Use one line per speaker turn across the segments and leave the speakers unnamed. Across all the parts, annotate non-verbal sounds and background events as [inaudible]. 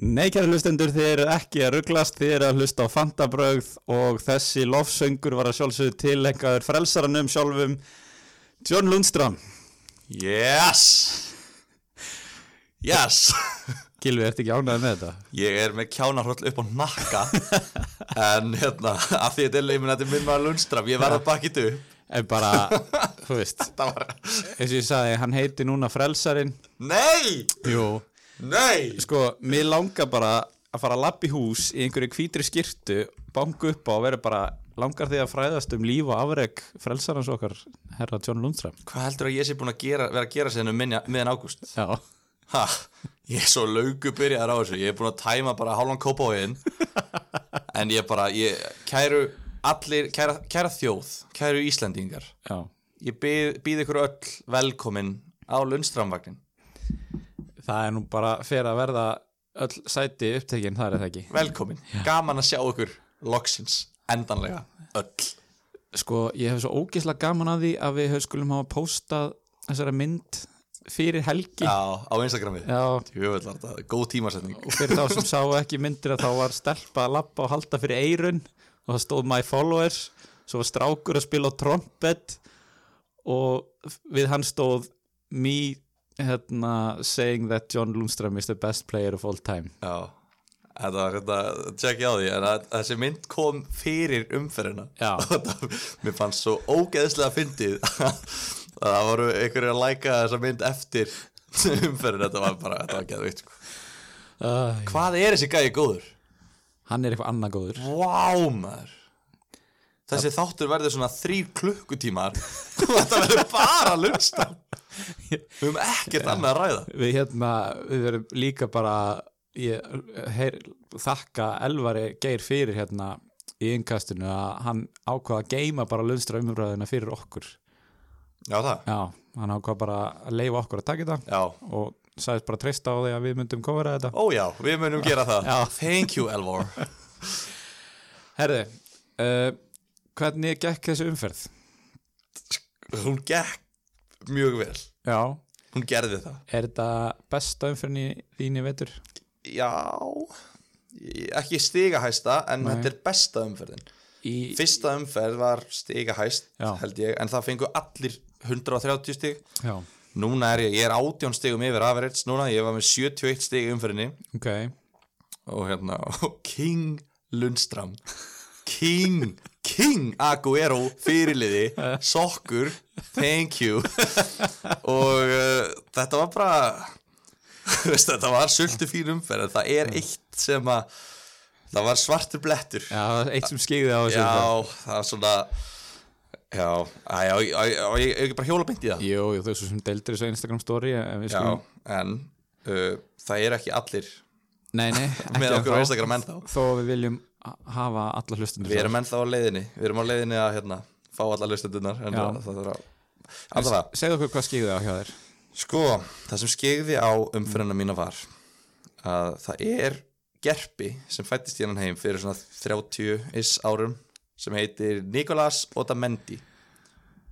Nei, kæri hlustendur, þið eru ekki að rugglast, þið eru að hlusta á fantabrögð og þessi lofsöngur var að sjálfsögðu tilengaður frelsaranum sjálfum John Lundström.
Yes Yes
Gilvi, ertu ekki ánæðið með þetta?
Ég er með kjánarhroll upp á nakka En hérna Af því þetta er leimin að þetta er minn maður Lundström Ég verða bakkið upp
En [laughs] bara, þú veist,
Það var
eins og ég sagði, hann heiti núna frelsarin.
Nei
Jú.
Nei
Sko, mér langar bara að fara að lappa í hús í einhverju hvítri skirtu, banku upp á og vera bara langar því að fræðast um líf og afreg frelsarans okkar, herra John Lundström.
Hvað heldur að ég sé búin að gera, vera að gera sérnum miðan ágúst?
Já.
Ha, ég er svo laugu byrjaðar á þessu Ég er búin að tæma bara hálfan kópa á einn En ég bara, ég, kæru allir, kæra, kæra þjóð Kæru Íslendingar
Já.
Ég býð, býð ykkur öll velkomin á Lundstramvagnin
Það er nú bara fyrir að verða öll sæti upptekinn, það er það ekki.
Velkomin, gaman að sjá ykkur loksins, endanlega, öll
Sko, ég hef svo ógislega gaman að því að við höfum skulum hafa postað þessara mynd fyrir helgi.
Já, á Instagramið
Já,
Jöfell var þetta, góð tímasetning
og fyrir þá sem sá ekki myndir að þá var stelpa að lappa og halda fyrir eirun og það stóð my followers svo var strákur að spila á trompet og við hann stóð me hérna, saying that John Lundström is the best player of all time
Já, þetta var hérna, tjekk ég á því en að, þessi mynd kom fyrir umferðina
Já.
[laughs] og það, mér fannst svo ógeðslega fyndið [laughs] að það voru einhverju að læka þessa mynd eftir [laughs] umferðina, þetta var bara, þetta var geðvikt sko.
Æ,
Hvað er þessi gæi góður?
hann er eitthvað annað góður
Vá maður Þessi þáttur verður svona þrýr klukkutímar [laughs] og þetta verður bara lunsta Við höfum ekkert annað að ræða
við hérna, við verum líka bara ég, heyr, þakka Elvari Geir fyrir hérna í innkastinu að hann ákvaða að geima bara Lundström umræðina fyrir okkur
Já það,
Já, hann ákvað bara að leifa okkur að taka þetta
já
og sagðist bara treysta á því að við myndum kofara þetta.
Ó já, við munum gera það
Já.
Thank you Elvor
Herði, uh, hvernig gekk þessi umferð?
hún gekk mjög vel
Já.
hún gerði það
Er þetta besta umferðin í þín í vetur?
já ekki stigahæsta en
Nei.
þetta er besta umferðin
Í,
fyrsta umferð var stigahæst
Já.
held ég, en það fengu allir 130 stig
já,
núna er ég, ég er 18 stigum yfir average núna, ég var með 71 stig í umferðinni
ok.
og hérna, og King Lundstram King, King Aguero fyrirliði, sokkur thank you og uh, þetta var bara veist, þetta var sultu fín umferð en það er eitt sem að það var svartur blettur já,
Já, það var eitt sem skegði á þessu. umferð.
það var svona já, að, já, já, já, ég hef ekki bara hjóla beint í það
Jú, jú, þessu sem deildir þessu á Instagram story. en við
já,
skulum-
en uh, það er ekki allir
Nei, nei, ekki
[laughs] með okkur á
ennþá.
Instagram ennþá
Þó að við viljum hafa alla hlustundur.
Við erum ennþá á leiðinni, við erum á leiðinni að hérna, fá alla hlustendunar en
Já.
það það þarf að Alltaf það,
Segð okkur hvað skegði á hjá þér.
sko, það sem skegði á umfyrirna mína var að það er gerpi sem fættist í hennan heim fyrir svona 30 is árum sem heitir Nicolas Otamendi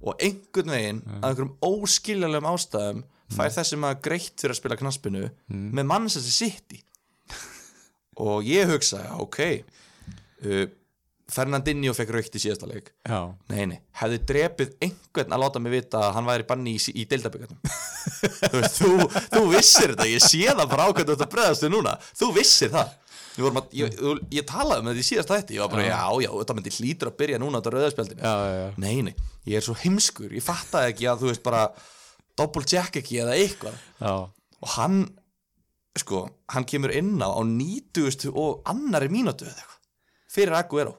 og einhvern veginn að einhverjum óskiljalegum ástæðum fær þessi maður greitt fyrir að spila knaspinu með mann sem þessi sitt í og ég hugsaði, ok uh, Fernandinho fekk raukt í síðasta leik
Já.
Nei, nei, hefði drepið einhvern að láta mig vita að hann væri banni í, í deildabyggarnum [laughs] þú, veist, þú, þú vissir þetta, ég sé það bara á hvernig þú ert að bregðast þig núna Þú vissir það Við vorum að, ég, ég, ég talaði með því síðast þetta Ég var bara, já, já, þetta myndi hlýtur að byrja núna á þetta rauðarspjaldinu
Já, já, já.
Nei, nei, ég er svo heimskur, ég fattaði ekki að þú veist bara Double jack ekki eða eitthvað
Já.
Og hann, sko, hann kemur inn á á 90 og annari mínútu eða eitthvað Fyrir Aguero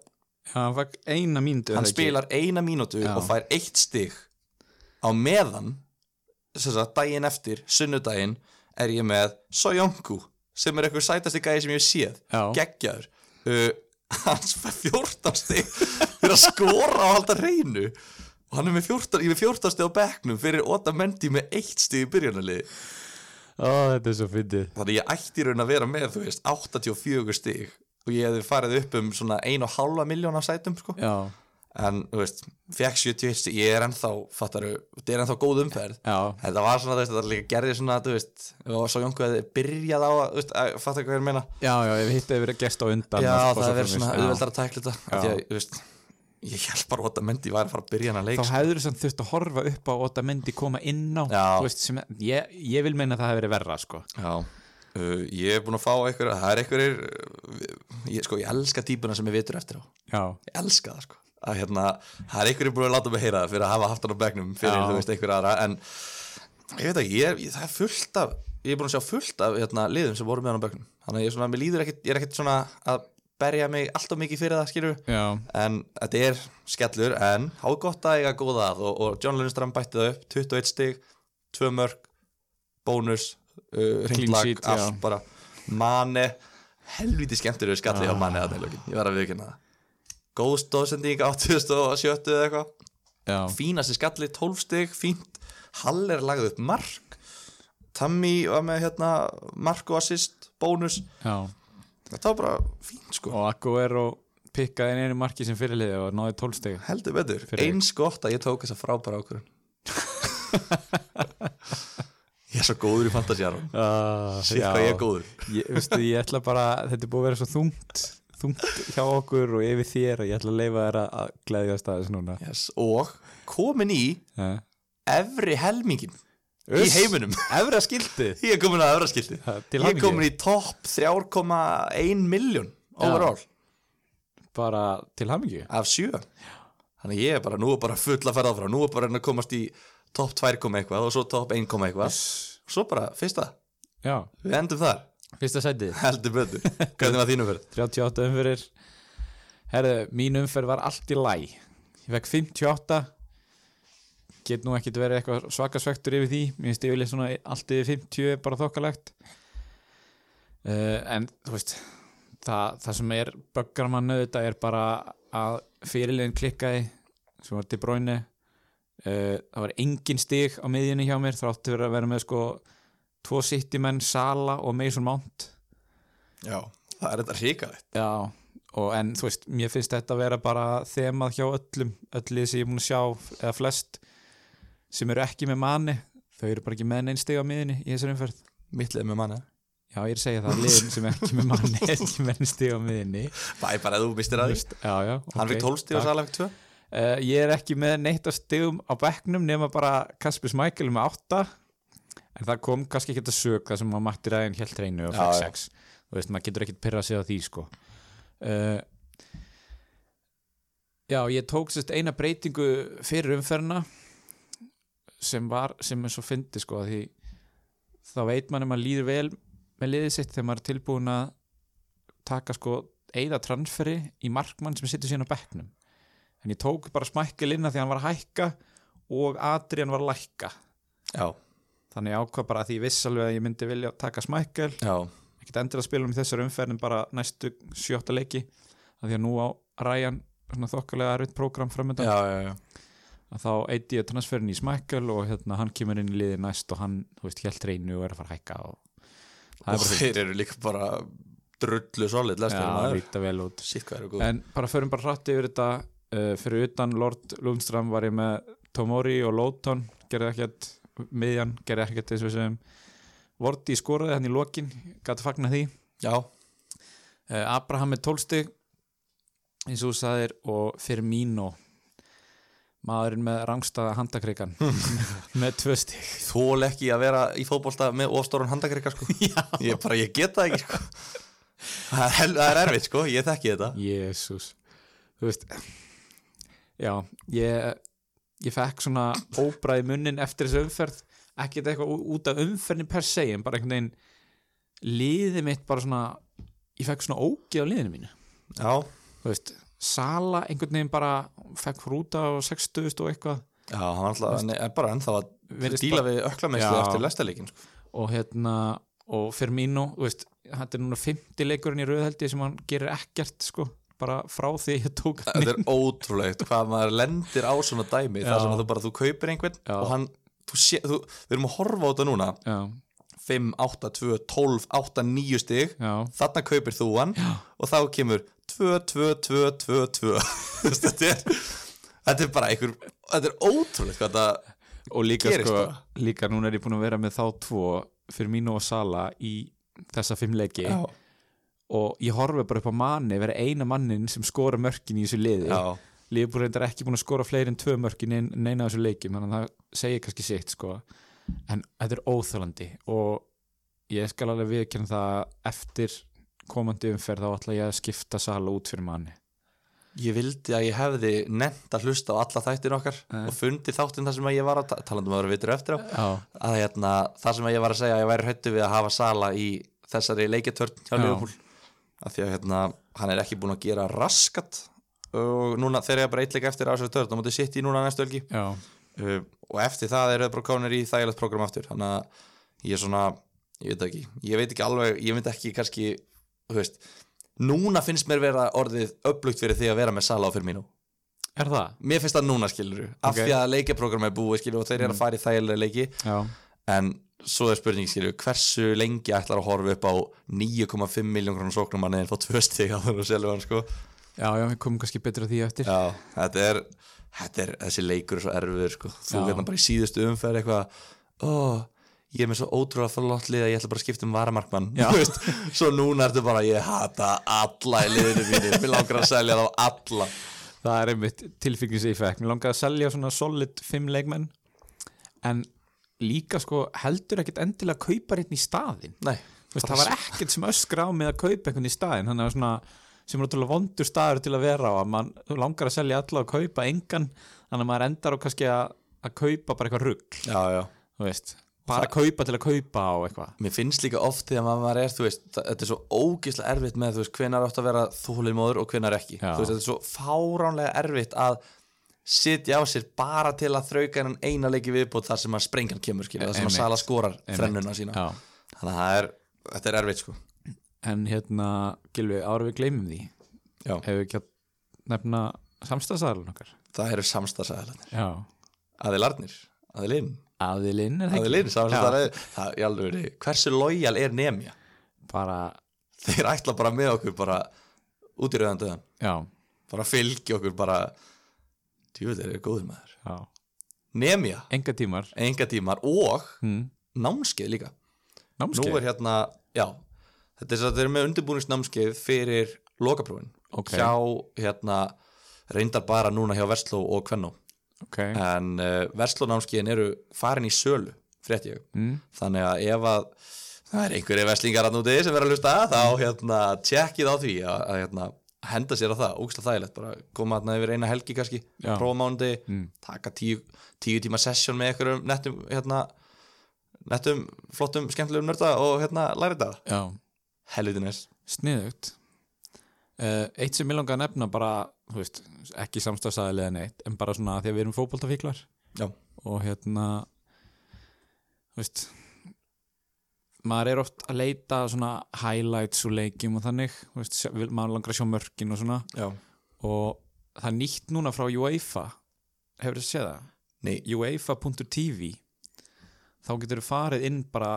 Já, hann fæk eina mínútu.
hann
er það ekki?
spilar eina mínútu
Já.
og fær eitt stig á meðan sem sagt, daginn eftir, sunnudaginn er ég með Soyonku sem er eitthvað sætasti gæði sem ég hef séð
Já.
geggjaður uh, hans fær 14 stig fyrir að skora og halda reynu og hann er með 14, ég er með 14 stig á bekknum fyrir Otamendi með eitt stig í byrjunarliði
Ó, þetta er svo fyndið.
þannig að ég ætti í raun að vera með þú veist 84 stig og ég hefði farið upp um svona 1,5 miljón af sætum sko
Já,
en þú veist, fekk 71 stig, ég er ennþá, fattaru, þetta er ennþá góð umferð
Já,
þetta var svona, þú veist, þetta líka gerði svona þú veist, og svo Jónku hefði byrjað á að, þú veist, að fattar hvað ég er að meina
já, já, ef hitt hefur verið gest á undan og-
já,
og
það
svo
hefði verið
framvegis.
svona
Já.
auðveldar að tækla þetta af því
Já.
að, þú veist, ég held bara óta mendi var að fara að byrja hann að leik sko.
Þá hefur þú þurft að horfa upp á Otamendi koma inn á
Já.
þú veist, sem, ég, ég vil meina að það hefur verið verra sko.
Já, uh, ég er búin að fá einhverja, það er einhverjir, uh, ég, sko, ég elska típuna sem ég vitur eftir á,
Já,
ég elska það sko, að hérna, það er einhverjir búin að láta mig heyra það fyrir að hafa haft hann á begnum fyrir,
Já.
þú veist, einhverja aðra, en ég veit ekki, ég, er- ég, það er fullt af, ég er búin að sjá fullt af, hérna, liðum sem voru með hann á begnum, þannig að ég er svona, mér líður ekkit, ég er ekkit svona að berja mig alltaf mikið fyrir það, skilur
já,
En þetta er skellur, en há gott að eiga góða að og, og John Lundström bætti það upp, 21 stig, 2 mörg, bónus, uh, ringlag,
sheet,
allt
já.
bara, manni, helviti skemmtur við skallið á manni að neilögin, ég var að viðkynna það. Góð stóðsending, 87 eða eitthvað,
já,
fínasti skallið, 12 stig, fínt, Haller lagði upp mark, Tammy var með hérna mark og assist, bónus,
já.
þetta var bara fínt sko.
og Aguero pikkaði inn einu marki sem fyrirliði og náði tólsteg
Heldur betur,
Fyrir þig.
eins gott að ég tók þessa
[laughs]
frábæra ákvörðun Ég er svo góður í fantasíarum
uh,
Sér hvað ég er góður
ég, veistu, ég ætla bara, þetta er búið að vera svo þungt þungt hjá okkur og yfir þér og ég ætla að leifa þér að- að gleðjast aðeins núna
yes. Og komin í
ja.
efri helmingin í
Uss.
heiminum
Efra skildi
Ég er komin að efra skildi
Ha, til
Ég er
hamingju.
komin í topp 3,1 miljón
Já.
overall
bara til hamingju
af 7 Þannig að ég er bara, nú er bara full að ferða áfram Nú er bara að reyna að komast í topp 2, eitthvað og svo topp 1, eitthvað Svo bara, fyrsta,
já,
við endum þar
fyrsta sætið
Heldur
[laughs]
betur, hvernig var þínu fyrir?
38 umferðir herðu, mín umferð var allt í læ ég fekk 58 get nú ekkit verið eitthvað svakasvektur yfir því, mér finnst yfirlega svona allt yfir 50 er bara þokkalegt uh, en þú veist það, það sem er böggar mann auðvitað er bara að fyrirlegin klikkaði sem var til bróinu uh, það var engin stig á miðjunni hjá mér þráttu verið að vera með sko tvo sittimenn, Sala og Mason Mount
Já, það er þetta ríkalegt
Já, og en þú veist, mér finnst þetta að vera bara þemað hjá öllum, öllið sem ég er múin að sjá, eða flest sem eru ekki með manni, þau eru bara ekki með neinn stig á miðinni í þessari umferð.
Mitt leið með manna
Já, ég er að segja það, liðin sem er ekki með manni er ekki með neinn stig á miðinni.
Það er bara að þú mistir að því
Já, já, ok.
Hann fyrir 12 stíð
takk.
og Sala fyrir 2
Eh, ég er ekki með neitt af stigum á bekknum nema bara Kaspis Michael með 8 en það kom kannski ekki að sög það sem maður mætti ræðin helt reynu og
Já,
fekk 6
já.
þú veist, maður getur ekkit pyrra sig á því sko uh, Já, ég tók sérst eina breytingu fyrir umferðina sem var, sem er svo fyndi sko að því þá veit mann að maður líður vel með liðið sitt þegar maður er tilbúin að taka sko eina transferi í markmann sem sittur síðan á bekknum en ég tók bara smækkil inn að því að hann var að hækka og Adrian var að lækka
Já,
þannig ég ákvað bara að því ég viss alveg að ég myndi vilja taka smækkil
já,
ekkert endur að spila um í þessar umferð en bara næstu sjötta leiki að því að nú á Ryan svona þokkalega erfitt prógram framöndan
já, já,
að þá eitt ég transferin í smækkil og hérna hann kemur inn í liði næst og hann, þú veist, helt reynu og er að fara að hækka og það er
Og
bara fínt.
þeir eru líka bara drullu solid lestir
Já,
maður
líta vel út
Sitt hvað eru góð
En bara förum bara hratt yfir þetta uh, Fyrir utan Lord Lundström var ég með Tomori og Lóton Gerði ekkert, miðjan gerði ekkert eins og við segjum Vorti skoraði hann í lokin Gat að fagna því
Já,
uh, Abraham með tólsti eins og þú sagðir og Firmino maðurinn með rangstaða handakreikan með tvö stig
þól ekki að vera í fótbolta með ofstórun handakrika sko [laughs] Já Ég bara, ég get það ekki sko Það er, hel- það er erfitt sko, ég þekki þetta
Jésús Þú veist Já, ég, ég fekk svona óbræði munnin eftir þessu umferð ekki þetta eitthvað ú- út af umferðin per se en bara einhvern veginn liðið mitt bara svona ég fekk svona ógið á liðinu mínu
Já,
Þú veist, Sala einhvern veginn bara fekk hrúta á 60 og eitthvað
já, hann var alltaf, en en bara ennþá að
Virðist
díla
bara-
við öklameistu
Já.
eftir lestarleikin sko
og hérna og Firmino, þú veist, þetta er núna 50 leikurinn í rauðhaldi sem hann gerir ekkert sko, bara frá því ég tók hann
[laughs] þetta er ótrúlegt hvað maður lendir á svona dæmi
Já.
þar sem að þú bara, þú kaupir einhvern
Já.
og hann, þú sé, þú, við erum að horfa á þetta núna
Já,
5, 8, 2, 12, 8, 9 stig
Já.
þarna kaupir þú hann Já. og þá kemur 2, 2, 2, 2, 2 [laughs] Þú veist, þetta er þetta er bara einhver, þetta er ótrúlegt hvað þetta,
og líka
Gerist
sko,
bara.
líka núna er ég búin að vera með þá tvo fyrir mínu og Sala í þessa fimm leiki
Já.
og ég horfi bara upp á manni vera eina mannin sem skora mörkin í þessu liði
Já.
Liverpool reyndar ekki búin að skora fleiri en tvö mörkin inn neina þessu leikjum þannig að það segir kannski sitt sko. en þetta er óþálandi og ég skal alveg viðkjörn það eftir komandi umferð þá ætla ég að skipta sala út fyrir manni
Ég vildi að ég hefði nefnt að hlusta á alla þættin okkar
Eh.
og fundi þáttinn þar sem að ég var að talandum að vera vitur eftir á
Já,
að hérna, það sem ég var að segja að ég væri hrættu við að hafa Sala í þessari leikjartörn hjá
Já.
Liverpool af því að hérna, hann er ekki búin að gera raskat og núna þeir eru bara eitt leik eftir á þessari törn og mútið sitt í núna næstu helgi
já,
uh, og eftir það eru þeir bara konur í þægilegt program aftur þannig að ég er svona ég veit ekki, ég veit ekki alveg ég veit ekki kannski, þú veist núna finnst mér vera orðið upplugt fyrir því að vera með Sala á fyrir mínu
er það?
mér finnst það núna skilur af
Ok. Mm.
því að leikjaprogram er búið skilur og þeir eru að fara í þægilega leiki
Já,
en svo er spurning skilju hversu lengi ætlar að horfa upp á 9,5 miljón krónum sóknum manni en fá tvö stig á þannig að selja hann sko
já, já, við komum kannski betur að því eftir
já, þetta er, þetta er þessi leikur er svo erfiður sko þú
Já.
verður bara í síðustu umferð eitthvað ó, ég er með svo ótrúlega þorlótlið að ég ætla bara að skipta um varamarkmann
Já.
[laughs] Þú veist, svo núna ertu bara ég hata alla í liðinu mínu, mér langar að selja þá alla
Það er einmitt tilfengis í fekk. Mér langaði að selja svona solid 5 leikmenn en líka sko heldur ekkert endilega kaupar einn í staðin.
nei,
Veist, það var ekkert sem öskra á mig að kaupa einhvern í staðin. Þannig að svona sem er ótrúlega vondur staður til að vera á að mann langar að selja alla og kaupa engan þannig að maður endar á kannski að, að kaupa bara eitthvað rugg,
já, já
þú veist. Bara kaupa til að kaupa á eitthvað.
Mér finnst líka oft þegar maður er, þú veist, það- þetta er svo ógeðslega erfitt með, þú veist, hvenar átt að vera þólimóður og hvenar ekki.
Já.
Þú veist, þetta er svo fáránlega erfitt að sitja á sér bara til að þrauka hennan eina leiki viðbútt þar sem að sprengjan kemur, skilja, þar sem að
Einmitt.
sala skorar
Einmitt.
þrennuna sína.
Já.
Þannig að það er, þetta er erfitt, sko.
En hérna, Gilvi, ára við gleymum því.
Já.
Hefur við ekki að nefna samstæðsaðalun okkar?
Það eru samstagsæðalarnir.
Já.
Aðilarnir, aðilinn,
Aðilinn er það ekki?
aðilinn, samstagsæðalarnir. Það er alveg verið, hversu lojal er nefnja?
bara,
[laughs] Þeir ætla bara með okkur bara út í rauðan döðan,
já,
bara fylgi okkur bara, djúvel er góður maður.
já
Nemja,
enga tímar
enga tímar og
hm.
námskeið líka
námskeið,
Nú er hérna, já Þetta er, þetta er með undirbúningsnámskeið fyrir lokaprófin
Ok.
hjá hérna reyndar bara núna hjá Vestló og Kvennó
ok,
en uh, Vestló námskeiðin eru farin í sölu frétt ég
mm.
þannig að ef að það er einhverju veslingar að núti sem er að hlusta þá hérna tjekkið á því að, að hérna, henda sér á það, ógstlega þægilegt bara koma hérna yfir eina helgi kannski
Já.
prófamándi,
hmm.
taka tíu, tíu tíma session með einhverjum nettum hérna, nettum, flottum, skemmtilegum nörda og hérna læra þetta
já,
helviti næs
sniðugt uh, eitt sem ég langa að nefna bara, þú veist, ekki samstafsæðilega neitt, en bara svona því að við erum fótboltafíklar
Já.
og hérna þú veist maður er oft að leita að svona highlights úr leikjum og þannig þú veist, sjá- vil- maður langar að sjá mörkin og svona
Já.
og það er nýtt núna frá UEFA hefur þetta séð það?
Nei,
UEFA.tv þá getur þú farið inn bara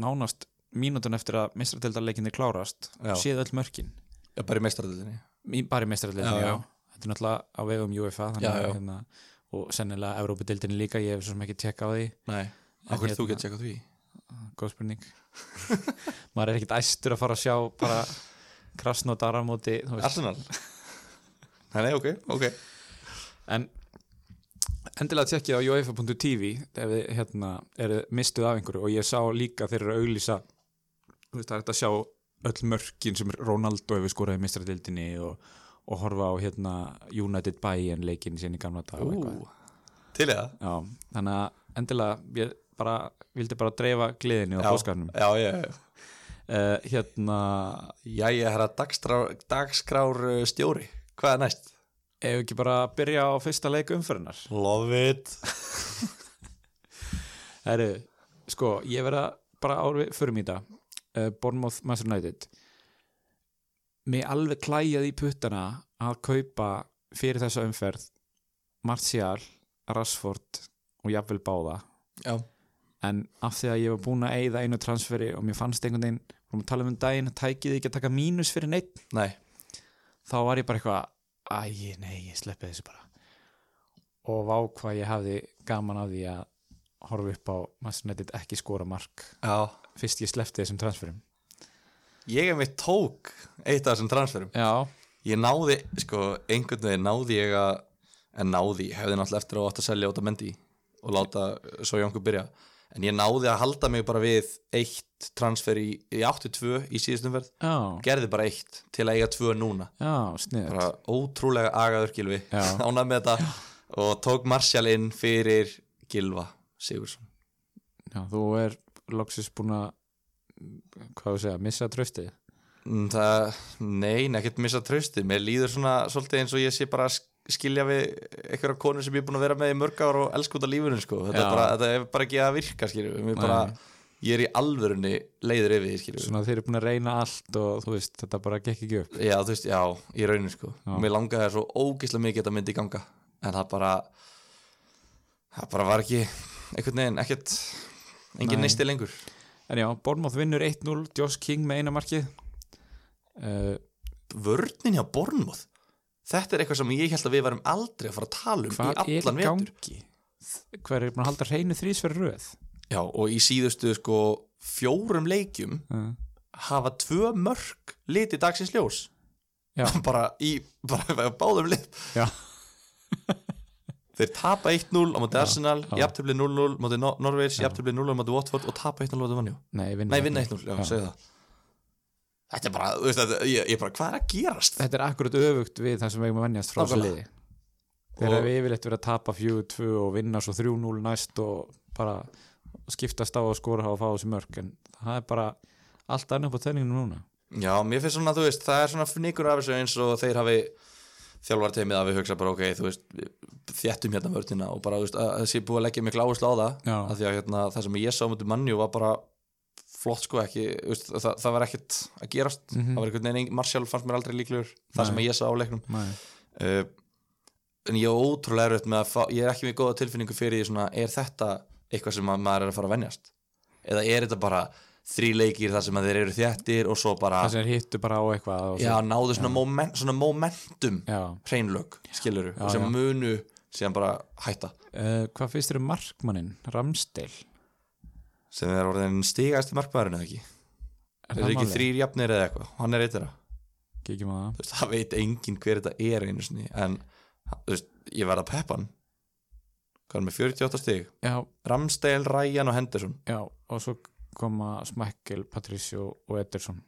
nánast mínútun eftir að meistradeldarleikinni klárast
Já.
og séð öll mörkin
já, bara í meistaradeldinni
Í- bara í meistradeldarleikinni, já,
Já, já.
þetta er náttúrulega á vegum UEFA þannig
Já,
að
já.
Hérna, og sennilega Evrópadeildinni líka, ég hef svo sem ekki tekka á því
Nei, okkur
hérna-
þú getur tjekkað því
góð
[laughs]
spurning maður er ekkit æstur að fara að sjá bara krasnódara móti þú veist.
Arsenal [laughs] Nei, nei, ok, ok
en endilega tekja á E joefa.tv ef þið hérna, eru mistuð af einhverju og ég sá líka þeir eru að auglýsa þú veist það er þetta að sjá öll mörkin sem Ronaldo hefur skoraði mistradildinni og, og horfa á hérna United Bayern leikin sín í gamla dag og eitthvað.
Ú, Til eða
Já, þannig að endilega ég bara, vildi bara dreifa gleðinu á
Já.
bóskarnum
Já, já, já
uh, hérna,
Jæja, herra dagskrár, dagskrár uh, stjóri Hvað er næst?
ef við ekki bara byrja á fyrsta leik umfyrinnar
Love it
Herru, sko, ég verða bara árið fyrir mér þetta uh, Bournemouth Master United Mér alveg klæjaði í puttana að kaupa fyrir þessa umferð Martial, Rashford og jafnvel báða
Já,
en af því að ég var búin að eyða einu transferi og mér fannst einhvern veginn vorum að tala um um daginn að tækið ekki að taka mínus fyrir neitt
Nei,
þá var ég bara eitthvað æ, nei, ég sleppi þessu bara og vá hvað ég hafði gaman af því að horfa upp á Master United ekki skora mark
já
fyrst ég sleppti þessum transferum
Ég hef mitt tók eitt af þessum transferum
já,
Ég náði, sko, einhvern veginn náði ég að En náði, ég hefði náttúrulega eftir að átt að selja út að mendi Og láta svo Jónku byrja En ég náði að halda mig bara við eitt transfer í, í 82 í síðustum verð
já,
Gerði bara eitt til að eiga tvö núna
já, sniðut
Bara ótrúlega agaður Gilvi [laughs]
Já.
Ánað með þetta Og tók Marshall inn fyrir Gilva Sigursson
Já, þú er loksins búin að hvað þú segja, missa tröftið
Mm, Það, nein, ekkert missa trösti Mér líður svona svolítið eins og ég sé bara að sk- skilja við einhverja konu sem ég er búin að vera með í mörg ár og elsku út af lífunum sko. þetta,
Já.
er bara, þetta er bara ekki að virka skilju Mér bara, ég er í alvörunni leiður yfir því skilju
svona þeir eru búin að reyna allt og þú veist, þetta bara gekk ekki upp
Já, þú veist, já, í rauninu sko
Já.
Mér langaði svo ógeðslega mikið þetta myndi í ganga en það bara það bara var ekki einhvern veginn, ekkert engin
Nei.
neisti lengur
en já, Bournemouth vinnur 1-0, Josh King með eina markið uh,
Vörnin hjá Bornmóð Þetta er eitthvað sem ég held að við varum aldrei að fara að tala um
hvað
í
er
allan
í
vetur
gangi? hver er búin að halda hreinu þrísverð röð?
Já, og í síðustu sko fjórum leikjum
Uh,
hafa tvö mörg liti dagsins ljós
Já.
[laughs] bara í bara báðum lit
Já.
[laughs] Þeir tapa 1-0 á móti Arsenal,
já.
jafntöfli 0-0 á móti Nor- Norvegs, jafntöfli 0-0 á móti Watford og tapa 1-0 á móti Vanjó.
nei, vinna
Nei, vinna 1-0, já,
Já.
segðu það. Þetta er bara, þú veist, þetta, ég, ég bara, hvað er að gerast?
þetta er akkurat öfugt við það sem við eigum að vennjast frá þessu
Nákvæmlega.
liði þeir
Og-
eru yfirleitt verið að tapa 4-2 og vinna svo 3-0 næst og bara skiptast á að skora og fá þessi mörg en það er bara allt annað upp á tenninginu núna
Já, mér finnst svona, þú veist, það er svona fnikur af þessu eins og þeir hafi þjálfarteimið að við hugsa bara, ok, þú veist við þéttum hérna vörnina og bara, þú veist, að það sé búið að leggja mikla áherslu á það
Já.
af því að hérna, það sem ég sá mútið mannjú var bara flott sko ekki, þú veist, það, það var ekkert að gerast,
Mhm.
það var einhvern veginn engin- Martial fannst mér aldrei líklegur, það
Nei.
sem ég sá á leiknum
Nei.
uh, en ég er ótrúlega erfitt með að fá, ég er ekki með góða tilfinningu fyrir því svona, er þetta eitthvað sem að maður er að fara að venjast eða er þetta bara þrý leikir þar sem að þeir eru þjættir og svo bara
það sem hittu bara á eitthvað og
Já, náðu svona, moment, svona momentum
Já.
hreinlög, skiluru
já,
sem
já.
munu síðan bara hætta
Uh, hvað finnst þér um markmannin, Ramsdale
sem er orðin stigast í markmaðurinn eða ekki
Er
það
það
er ekki
málið?
þrýr jafnir eða eitthvað og hann er eitt þeirra
Kíkjum á það
Þú veist, það veit enginn hver þetta er einu sinni en þú veist, ég verð að peppa hann hvað er með 48 stig
já,
Ramsdale, Ryan og Henderson
já, og svo koma Smekkel, Patricio og Ederson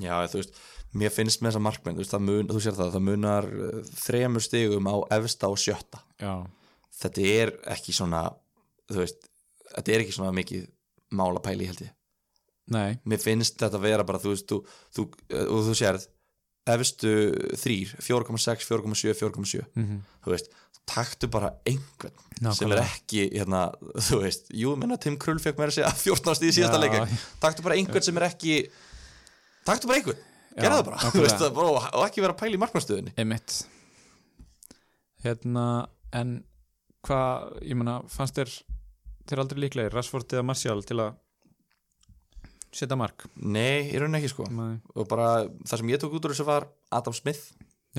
Já, þú veist, mér finnst með þessa markmenn þú, veist, það mun, þú sér það, það munar eh, þremur stigum á efsta og sjötta
já,
þetta er ekki svona þú veist, þetta er ekki svona mikið mála pæli held ég
nei,
mér finnst þetta vera bara þú veist, þú, þú, og þú sérð efstu þrýr, 4,6, 4,7 4,7,
mm
þú veist taktu bara einhvern sem er
nákvæmlega
ekki, hérna, þú veist jú, menna Tim Krull fekk mér að segja 14 stíð í
Já.
síðasta leika, taktu bara einhvern sem er ekki taktu bara einhvern, gerða það bara, þú
nákvæmlega.
veist, það bara og ekki vera að pæla í markmannstöðinni
Emitt Hérna, en hvað, ég meina, fannst þér þér aldrei líklegir, Rashford eða Martial til að setja mark
nei, í rauninni ekki sko
Nei.
og bara það sem ég tók út úr þessu var Adam Smith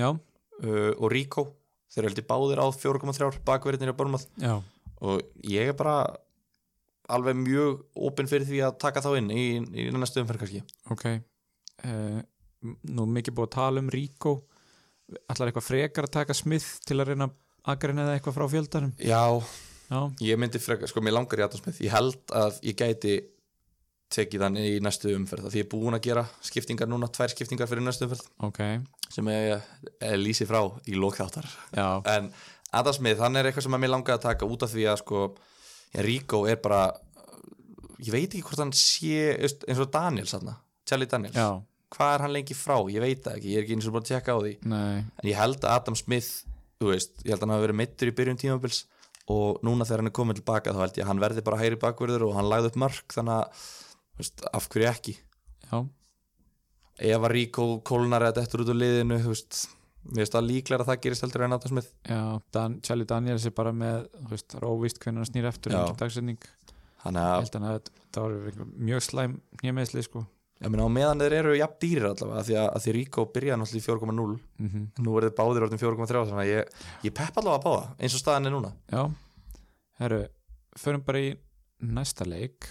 Já,
uh, og Rico þeir heldur báðir á 4,3 bakverðinir á Bormað
já,
og ég er bara alveg mjög opinn fyrir því að taka þá inn í, í næstu umferð kannski
ok uh, Nú er mikið búið að tala um Rico Ætlar eitthvað frekar að taka Smith til að reyna að greina það eitthvað frá fjöldanum
Já,
Já,
ég myndi frekar, sko mér langar í Adam Smith ég held að ég gæti tekið hann í næstu umferð af því ég er búin að gera skiptingar núna, tvær skiptingar fyrir næstu umferð
ok
sem ég, ég lýsi frá í lokþáttar
Já,
en Adam Smith, hann er eitthvað sem að mér langaði að taka út af því að sko, já, Rico er bara ég veit ekki hvort hann sé þú veist, eins og Daniels hann, Charlie Daniels
já,
hvað er hann lengi frá, ég veit það ekki ég er ekki eins og bara að tjekka á því
nei
en ég held að Adam Smith, þú veist ég held að hann hafi verið mittur í byrjun tímabils og núna þegar hann er komin tilbaka þá held ég að hann verði bara hægri bakverður og hann lagði upp mark þannig að, þú veist, af hverju ekki
Já,
ef að Rico kólnar eða dettur út úr liðinu þú veist, mér veist það líklega að það gerist heldur en Adam Smith
já Dan, Charlie Daniels er bara með, þú veist, það er óvíst hvernig hann snýr eftir
Já.
engin dagsetning
Þannig að,
held hann að það var einhver mjög slæm nýjameðsli sko
ég meina á meðan þeir eru jafn dýrir allavega af því að, að því Ríko byrjaði náttúrulega í 4,0
mm
nú er þið báðir orðin 4,3 þannig að ég, ég pepp allavega að báða eins og staðan er núna
Já, herru, förum bara í næsta leik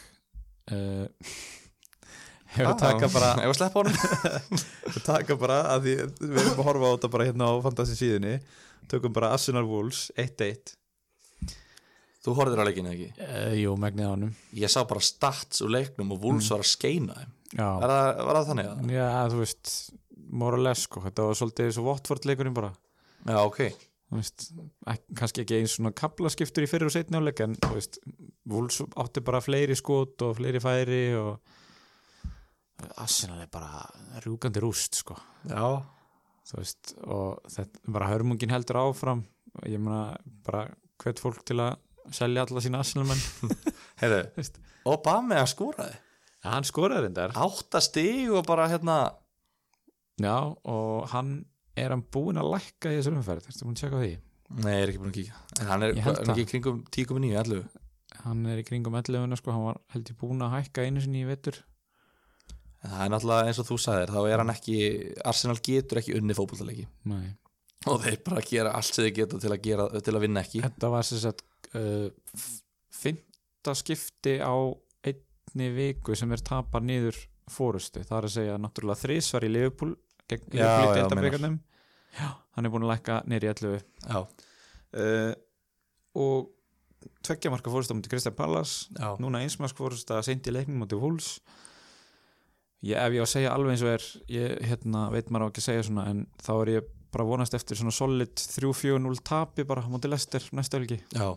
uh, [laughs] Hefur
Ah,
taka bara
Ef að sleppa honum
[laughs] Við taka bara að því við erum að horfa á þetta bara hérna á fantasy síðunni tökum bara Arsenal Wolves 1-1
Þú horfðir á leikinu ekki
uh, Jú, megnið á honum
Ég sá bara stats úr leiknum og Wolves var að skeina þeim
Mm. Já,
Var það, var það þannig að?
já þú veist more or less sko, þetta var svolítið svo Watford leikurinn bara
Já, ok
Þú veist, ek- kannski ekki eins svona kaplaskiptur í fyrir og seinni áleik en þú veist, Wolves átti bara fleiri skot og fleiri færi og Arsenal er bara rjúkandi rúst sko
Já,
þú veist, og þetta bara hörmungin heldur áfram og ég meina bara hvet fólk til að selja alla sína Arsenalmenn
heyrðu
Veist.
Obama að skúraði
ja, [laughs] hann skoraði reyndar
Átta stig og bara hérna
já, og hann er hann búinn að lækka í þessu umferð ertu búinn að tjekka á því
Nei, ég er ekki búin að kíka En hann er,
Ég held
er hann
það.
ekki í kringum 10,9, 11
hann er í kringum 11 sko, hann var heldur búinn að hækka einu sinni í vetur
En Það er náttúrulega eins og þú sagðir Þá er hann ekki, Arsenal getur ekki unni fótballtaleiki
Nei.
Og þeir bara gera allt sem þeir geta til að, gera, til að vinna ekki
þetta var sem sagt uh, f- fimmta skipti á einni viku sem er tapar niður fórustu, það er að segja náttúrulega þrísvar í Liverpool gegn
Já,
Liverpool í
já,
deildabikarnum hann er búinn að lækka niður í 11
Já,
uh, og tveggja marka fórust á mútið Kristján Pallas
já
núna einsmask fórust að seint í leiknum mútið Húls ég, ef ég á að segja alveg eins og er ég hérna, veit maður á ekki að segja svona en þá er ég bara að vonast eftir svona solid 3-4-0 tapi bara á mútið Lester næsta helgi
Já,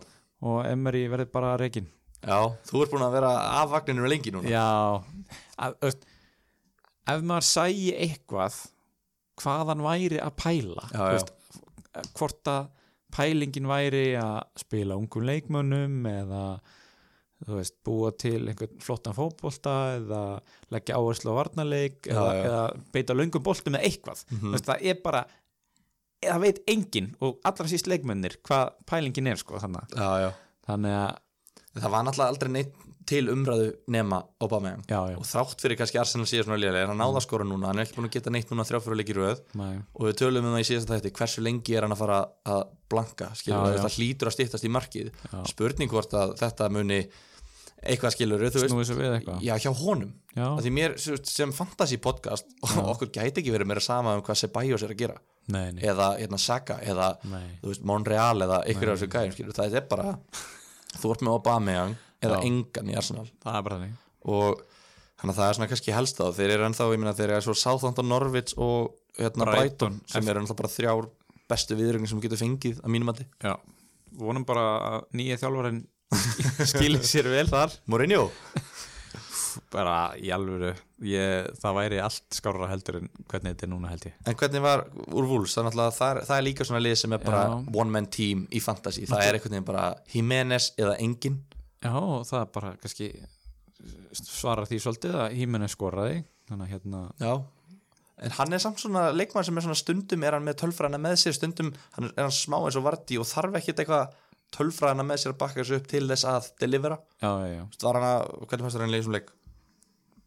og Emery verði bara reikin
já, þú ert búin að vera af vagninu lengi núna
já að, öst, ef maður sæi eitthvað hvaðan væri að pæla
Já,
þú eh,
já.
hvort að pælingin væri að spila ungum leikmönnum eða þú veist, búa til einhvern flottan fótbolta eða leggja áherslu á varnarleik
Já,
eða,
já.
eða beita löngum boltum eða eitthvað
Mhm.
þú veist, það er bara það veit enginn og allra síst leikmönnir hvað pælingin er sko þannig,
já, já.
þannig að
Það var náttúrulega aldrei neitt til umræðu nema Obama
já, já,
og þrátt fyrir kannski Arsenal síðan svona lélega hann náða að skora núna, hann er ekki búin að geta neitt núna þrjáfyrir leikir röð
næ,
og við tölum um það í síðasta þætti, hversu lengi er hann að fara að blanka, skilur
Já,
við,
já.
þetta hlýtur að stýttast í markið
Já.
spurning hvort að þetta muni eitthvað skilur við, þú veist,
snúið svo við eitthvað
já hjá honum
já,
að því mér sem- sem fantasy podcast [laughs] okkur gæti ekki verið meira sama um hvað Sebajos er að gera,
nei, nei,
eða hérna, Saka, eða
nei
þú veist, Monreal eða ykkur af þessu gæðum, skilur, það er bara þú ert með Aubameyang eða
Já.
engan í Arsenal
það er bara þannig
og þannig að það er svona kannski helst þá þeir eru ennþá, ég meina, þeir eru svo Southampton, Norwich og hérna Brighton,
Brighton,
sem eru ennþá bara þrjár bestu viðröngin sem þú getur fengið að mínum mati
já. vonum bara að nýja þjálfarinn [laughs] skilir sér vel þar
Mourinho?
bara í alvöru ég, það væri allt skárra heldur en hvernig þetta er núna held ég
En hvernig var úr Wolves? Það er, náttúrulega- það er, það er líka svona lið sem er bara
Já.
one man team í fantasy það er einhvern veginn bara Jimenez eða engin
já, það er bara kannski svarar því svolítið að hímenni skoraði þannig að hérna
Já En hann er samt svona leikmann sem er svona stundum er hann með tölfræðina með sér, stundum hann er, er hann smá eins og varti og þarf ekkit eitthvað tölfræðina með sér að bakka þessu upp til þess að delivera.
já, já, já.
Þú veist, Var hann að, hvernig fannst þér hann í þessum leik?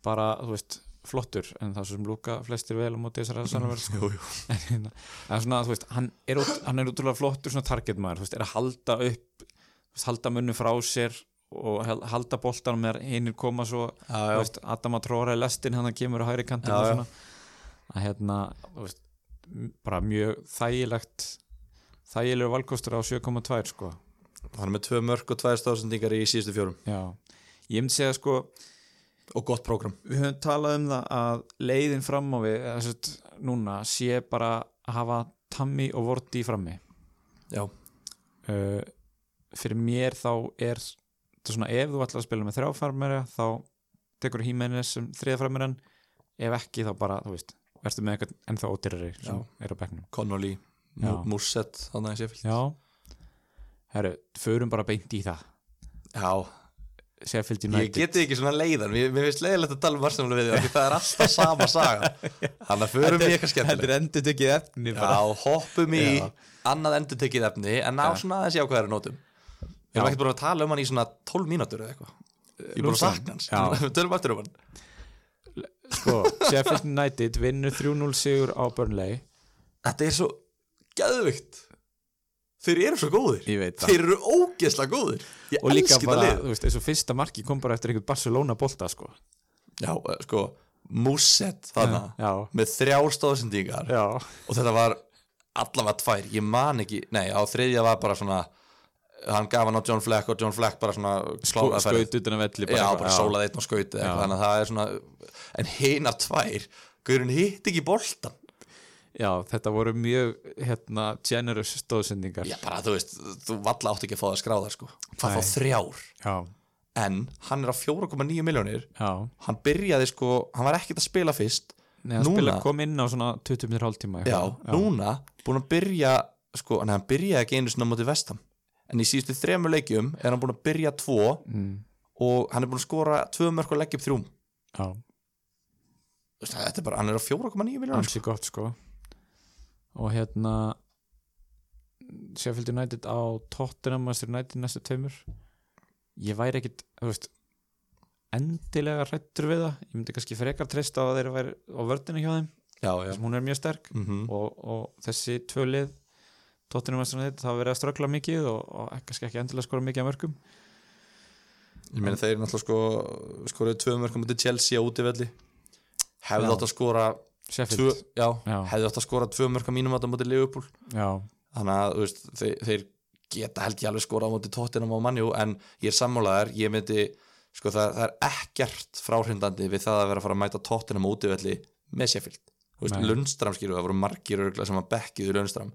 bara, þú veist, flottur en það er svo sem lúka flestir vel á móti þessari sannverð
[laughs] Jú, jú.
en hérna, en svona, þú veist, hann er, út, hann er útrúlega flottur svona target maður, þú veist, er að halda upp þú veist, halda munnu frá sér og hel- halda boltanum með hinnir koma svo,
Já,
þú
já.
veist, Adam að tróra í lestin hann kemur á hægri kantin
Já, já.
að hérna, þú veist m- bara mjög þægilegt þægilegur valkostur á 7,2 sko,
Hann er með tvö mörg og tvær stóðsendingar í síðustu fjórum
já ég myndi segja sko,
og gott prógram.
við höfum talað um það að leiðin fram á við, þessut núna, sé bara að hafa Tammy og Vorti frammi
Já.
uh, fyrir mér þá er þetta svona ef þú ætlar að spila með þrjáfarmera þá tekur Hímenes sem þriðafarmeran ef ekki þá bara, þú veist verður með eitthvað ennþá ódýrari sem er á bekknum
Connolly,
Já.
Musset, þannig að sé fyllt.
Já Herru, förum bara beint í það
Já.
Sheffield
Ég
United
geti ekki svona leiðan, mér, mér finnst leiðilegt að tala um Arsenal við því að það er alltaf sama
[laughs]
saga. Þannig að förum við eitthvað skemmtilegt.
er endur tekið efni
Já, hoppum í
Já.
annað endurtekið efni en ná
Já.
svona aðeins jákvæðari nótum Við erum
Já.
ekkert búin að tala um hann í svona 12 mínútur eða eitthvað Ég er búin að sakna hans
Já.
[laughs] Við tölum aftur um hann
sko, Sheffield United vinnur 3-0 sigur á Burnley
Þetta er svo geðvikt Þeir eru svo góðir
Ég veit það.
Þeir eru ógeðslega góðir Ég
og líka
elski þetta
bara,
lið
þú veist, eins og fyrsta marki kom bara eftir einhvern Barcelona bolta sko.
Já, eh, sko, Músett þarna
já,
Með þrjár stóðsendingar
já,
Og þetta var allavega tvær Ég man ekki, nei, á þriðja var bara svona Hann gaf hann á John Fleck og John Fleck bara svona kláraði ferð.
Sko, skaut utan að velli
Já,
eitthvað,
bara sólað einn og skaut eða eitthvað, Þannig að það er svona En hinar tvær, Guðrun hitt ekki boltan
já, þetta voru mjög hérna, generous stóðsendingar
Já, bara þú veist, þú valla átt ekki að fá það skráðar sko Hvað
Nei.
þá þrjár
já,
En hann er á 4,9 miljónir
já.
Hann byrjaði sko, hann var ekkert að spila fyrst
Nei, að
Núna?
spila kom inn á svona 20 minnir hálftíma
Já,
eitthvað.
núna búin að byrja Sko, nei, hann byrjaði ekki einu sinna á móti vestam En í síðustu þremur leikjum er hann búin að byrja tvo
mm,
Og hann er búin að skora tvö mörg og leggja upp þrjúm
já,
Þú veist, Þetta er bara, hann er á 4,9 miljónir sko.
ansi gott sko og hérna Sheffield United á Tottenham Master United næstu tveimur ég væri ekkit þú veist, endilega hrættur við það ég myndi kannski frekar treysta á að þeir væri á vördina hjá þeim,
Já, já
þessum hún er mjög sterk
mm
og, og þessi tvölið Tottenham Master United það hafa verið að ströggla mikið og, og kannski ekki endilega skora mikið að mörgum
Ég meina þeir náttúrulega sko skoraði tvö mörg á móti Chelsea á útivelli Hefði
Já.
átt að skora tvö,
Sheffield,
já,
Já.
hefði átt að skora tvö mörg á mínum að það móti Liverpool
já,
þannig að þú veist, þeir, þeir geta held ég alveg skora á móti tóttinum á mannjú en ég er sammálaðar, ég myndi sko það, það er ekkert fráhrindandi við það að vera að fara að mæta tóttinum á útivelli með Sheffield, þú veist,
Nei.
Lundstram skilur það voru margir örgla sem að bekkiðu Lundstram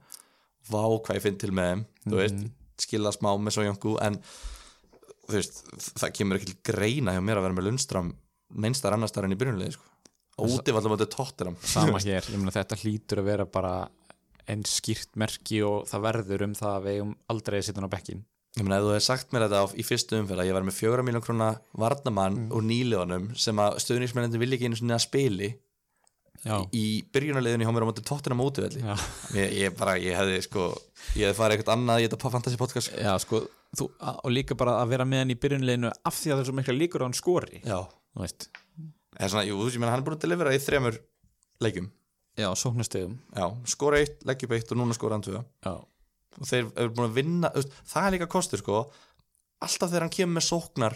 vá hvað ég finn til með þeim þú veist, skilða smá með svo jöngu en þú veist, það kemur ekki til greina hjá mér að vera með Lundstram neinstar annar starf en í byrjunlegi sko. útivallum á móti tóttinum
sama hér, ég meina þetta hlýtur að vera bara einn skýrt merki og það verður um það að við um aldrei að sitja á bekkin
Ég meina, ef þú hefði sagt mér þetta á- í fyrstu umferð að ég var með fjögra miljón króna varnamann mm. og nýleganum sem að stöðnismennandi vilja ekki einu sinni að spili
já,
í byrjunarleiðinu hjá mér á móti tóttina mótivelli.
[laughs] já.
Ég, ég bara, ég hefði sko, ég hefði farið eitthvað annað, ég hefði að fantasy podcast. sko.
sko þú, a- og líka bara að vera með hann í byrjunleginu af því að það er svo mikla líkur á hann skori
Já.
þú veist,
Eða svona, jú, þú veist, ég meina, hann er búin að delivera í þremur leikjum.
já, sóknastegum
Já, skora eitt, leggja upp eitt og núna skora hann tvö.
já,
Og þeir eru búin að vinna, þú veist, það er líka kostur sko, alltaf þegar hann kemur með sóknar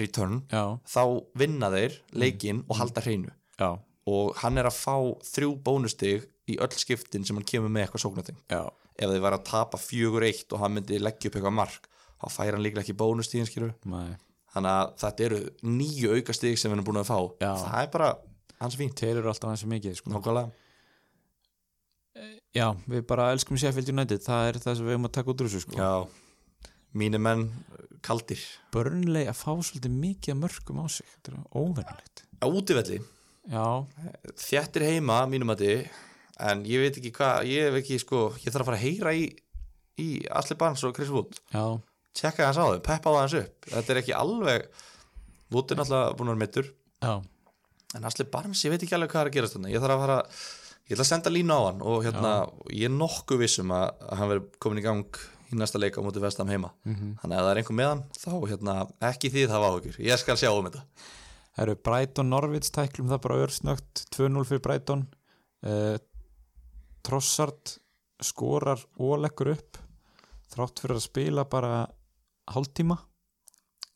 return,
já,
þá vinna þeir leikinn og halda hreinu.
já,
og hann er að fá þrjú bónustig í öll skiptin sem hann kemur með eitthvað sóknating
já.
ef þið var að tapa fjögur eitt og hann myndi leggja upp eitthvað mark þá fær hann líklega ekki bónustigin skilur
Nei.
þannig að þetta eru nýju aukastig sem hann er búin að fá
Já.
það er bara hans fínt
telur alltaf hans mikið sko.
Nákvæmlega.
já, við bara elskum Sheffield United það er það sem við erum að taka út úr þessu sko.
já mínu menn kaldir
börnleg að fá svolítið mikið af mörgum á sig, þetta er óvernilegt
á útivelli
já,
þjættir heima mínum að þið en ég veit ekki hvað ég hef ekki sko ég þarf að fara að heyra í í Asli Barnes og Chris Wood
já,
tjekka hans á þau, peppa það hans upp þetta er ekki alveg Wood er náttúrulega búin að vera meittur
já,
en Asli Barnes, ég veit ekki alveg hvað er að gerast þannig ég þarf að fara, ég ætla að senda línu á hann og hérna, ég er nokkuð vissum að, að hann verið komin í gang í næsta leik á móti vestam heima þannig að ef það er einhver með hann, þá hérna ekki því það var okkur, ég skal sjá um þetta
Það eru Brighton Norvids tæklum það bara örsnögt 2-0 fyrir Brighton uh, Trossard skorar og leggur upp þrátt fyrir að spila bara hálftíma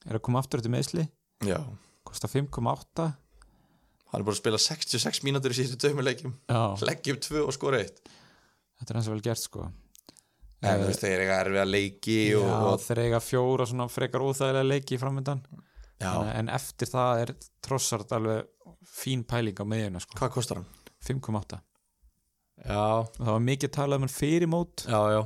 er að koma aftur til meðsli
já,
kostar 5,8
hann er búin að spila 66 mínútur í síðustu dömu leikjum [laughs]
Já,
leggjum tvö og skora eitt
þetta er hans vel gert sko
en þú veist, þeir eru erfið að leiki
Já,
og, og,
þeir eiga fjóra svona frekar óþægilega leiki framöndan en,
já,
en eftir það er Trossard alveg fín pæling á meðjuna sko
hvað kostar hann?
5,8
já,
það var mikið talað um hann fyrir mót
já, já,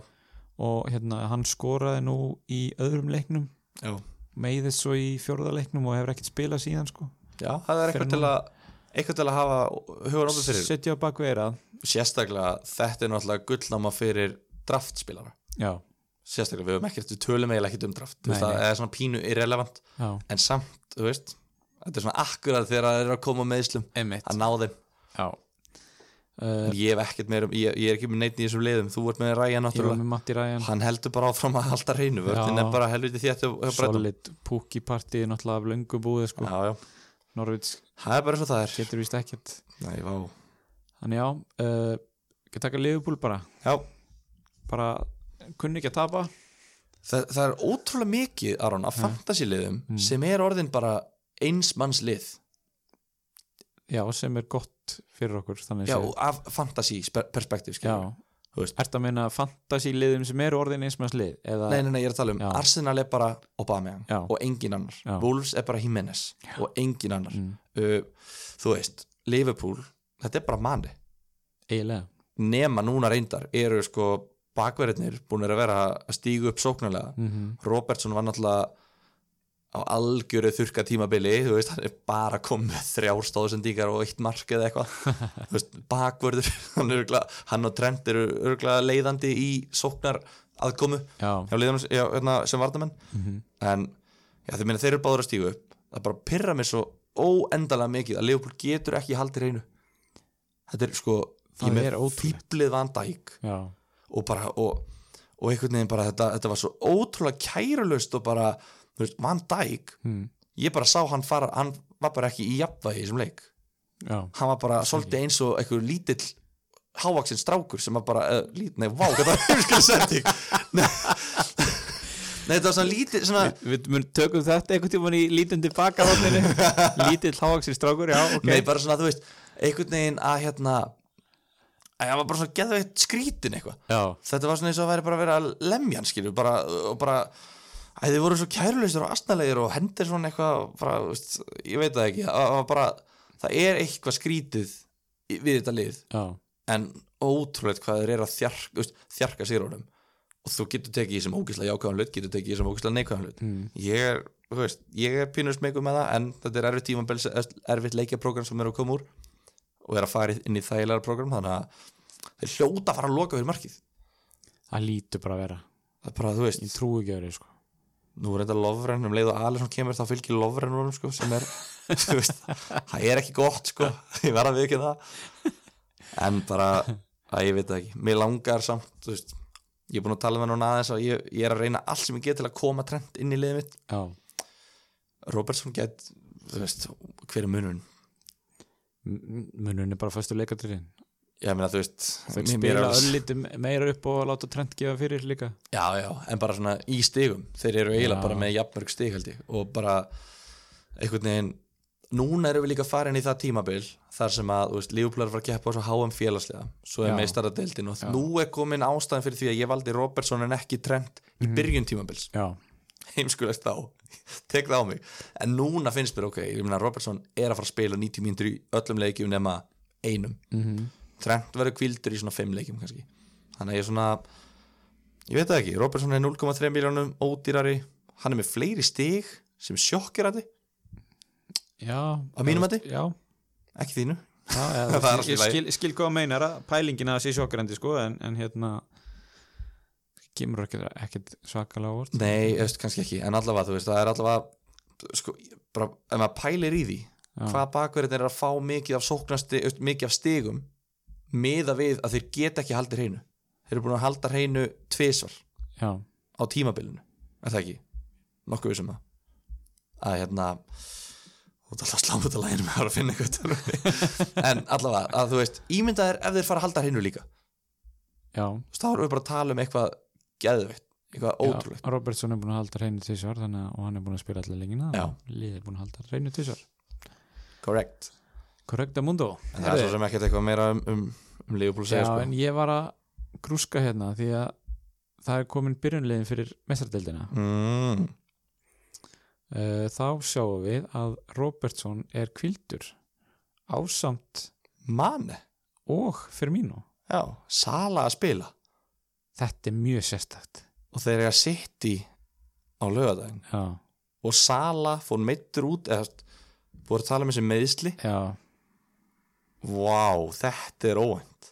og hérna hann skoraði nú í öðrum leiknum
já.
meiðist svo í fjórða leiknum og hefur ekkert spilað síðan sko
Já, það er eitthvað
Fyrir
til að eitthvað til að hafa hugan ofta fyrir
setja á bakveirað
sérstaklega þetta er náttúrulega gullnáma fyrir draftspilara
já,
sérstaklega við höfum ekkert, við tölum eiginlega ekkert um draft þú veist,
Nei,
það er svona pínu irrelevant
já,
en samt, þú veist, þetta er svona akkurat þegar það er að koma með íslum
emitt
að ná þeim
já. uh,
ég hef ekkert meira, um- ég, ég er ekki með neitt í þessum liðum þú ert með Ræja
ég var
náttúrulega
með Matti Ræjan
hann heldur bara áfram að halda reynu vörðin
Já.
er bara helviti þétt hjá- hjá Bretum.
solid púki partíð náttúrulega af löngu búið sko.
já, já.
Norvits
það er bara eins og það er
getur vist ekkert
Nei, vá.
þannig já, uh, ekki taka liðbúl bara
já,
bara kunni ekki að tapa
það, það er ótrúlega mikið Aron, af fantasiliðum
Mm.
sem er orðin bara eins manns lið
já, sem er gott fyrir okkur þannig
já,
séð.
af fantasy
já.
perspektiv skilur. Þú veist.
Ertu að meina fantasy liðum sem eru orðin eins manns lið eða
nei, nei, nei, ég er að tala um
Já.
Arsenal er bara Aubameyang
Já.
og engin annar
Já. Mm.
Wolves er bara Jimenez og engin annar uh, þú veist, Liverpool þetta er bara manni
eiginlega
nema núna reyndar eru sko bakverðinir búin að vera að stígu upp sóknarlega
Mhm.
Robertson var náttúrulega á algjöru þurka tímabili þú veist, hann er bara komið með þrjár stóðsendingar og eitt mark eða eitthvað
[laughs]
Þú veist, bakverður, hann, er örugglega- hann og Trent eru örgulega leiðandi í sóknar aðkomu
já,
hjá liðanum já, hérna, sem vartamenn
Mhm.
en já, þau meina þeir eru báður að stígu upp það bara pyrra mér svo óendalega mikið að Leopold getur ekki haldið reynu þetta er sko
Það
ég með
er ótrúlegt.
fíblið vandæk
já,
og bara og, og einhvern veginn bara þetta, þetta var svo ótrúlega kærulust og bara þú veist, Van Dijk
Hmm.
ég bara sá hann fara, hann var bara ekki í jafnvægi í þessum leik,
já.
hann var bara svolítið eins og einhver lítill hávaksinn strákur sem var bara, uh, lít, nei, vá [laughs] hvað það er skil setting nei, nei, þetta var svona lítið svona,
Við mun tökum þetta einhvern tímann í lítum tilbaka
[laughs]
ráttinu Lítill hávaksir strákur, já, ok
nei, bara svona, þú veist einhvern veginn að hérna að hann var bara svona geðveitt skrítin eitthvað
Já,
þetta var svona eins og að væri bara að vera að lemja hann skilju, bara, og bara að þið voru svo kæruleysir og astnalegir og hendir svona eitthvað, bara, þú veist, ég veit það ekki það var bara, það er eitthvað skrítið í- við þetta lið
já,
en ótrúlegt hvað þeir eru að þjark, þú veist, þjarka sér honum og þú getur tekið í sem ógislega jákvæðan hlut getur tekið í sem ógislega neikvæðan hlut mm.
Mhm.
ég er, þú veist, ég er pínust meikum með það en þetta er erfitt tímabels, erfitt leikjaprógram sem eru að koma úr og er að fara inn í þægilega prógram þannig að þeir hljóta að fara að loka fyrir markið
það lítur bara að vera
það er bara, þú veist,
Ég trúi ekki að vera, sko
nú er þetta lofrenn um leið og Alisson kemur þá fylgir lofrenn honum sko, sem er, [laughs] þú veist það er ekki gott sko, [laughs] ég verða við ekki það en bara að ég veit það ekki, mér langar samt þú veist, ég er búin að tala með núna aðeins og ég, ég er að reyna allt sem ég get til að koma trend inn í liðið mitt,
Já,
Robertson get þú veist, hver er munun
munurinn er bara fyrstu leikadurinn
ég meina, þú veist
Þeir
mér- mér er
spila
alveg-
öllítið meira upp og láta trend gefa fyrir líka
Já, já, en bara svona í stigum þeir eru eiginlega
Já.
bara með jafnmörg stig held ég og bara einhvern veginn núna erum við líka farin í það tímabil þar sem að, þú veist, Liverpool er að fara að keppa á svo HM félagslega, svo er
Já.
meistaradeildin og nú er komin ástæðan fyrir því að ég valdi Robertson en ekki Trent í
Mhm.
byrjun tímabils [laughs]
Já,
heimskulegt þá, tek það á mig en núna finnst mér, ok, ég meina Robertson er að fara að spila 90 mínútur í öllum leikjum nema einum -hmm.
Mhm.
Trent verður kvildur í svona 5 leikjum kannski þannig að ég er svona ég veit það ekki, Robertson er 0,3 miljónum ódýrari, hann er með fleiri stig sem sjokkirandi,
já Á
mínum mati?
Já,
ekki þínu
já,
[laughs]
já
Það er allt í
Ég
lagi.
skil, skil hvað að meinar að pælingin að sé sjokkrandi, sko En, en hérna Kemur ekki, ekkert svakalega á orð
nei, ég veist kannski ekki, en allavega þú veist, það er allavega sko, bara, ef maður pælir í því
Já.
hvað bakverðin er að fá mikið af sóknasti mikið af stigum miða við að þeir geta ekki haldið hreinu þeir eru búin að halda hreinu tvisvar
Já,
á tímabilinu er það ekki, nokkuð við sem það að hérna út alltaf slám út að læginu með að finna eitthvað
[laughs]
en allavega að þú veist ímyndaðir ef þeir fara að halda hreinu líka þú
já
veist, þá erum við bara að tala um eitthvað geðveitt, eitthvað ótrúlegt
Já, Robertson er búin að halda reynu tísvar þannig að og hann er búin að spila allir lengina
Já.
liðið er búin að halda reynu tísvar
correct,
Korrekta mundo
en það er svo sem ekkert eitthvað meira um, um, um Leopold
Já,
segja sko.
en ég var að grúska hérna því að það er komin byrjunlegin fyrir mestardeldina
mm,
uh, þá sjáum við að Robertson er kvildur ásamt
manni
og fyrir mínu
Já, Sala að spila
þetta er mjög sérstætt
og þeir eru að sitt í á lögadaginn
Já,
og Sala fór meittur út eða búið að tala með þessi meðsli
já
Vá, þetta er óvænt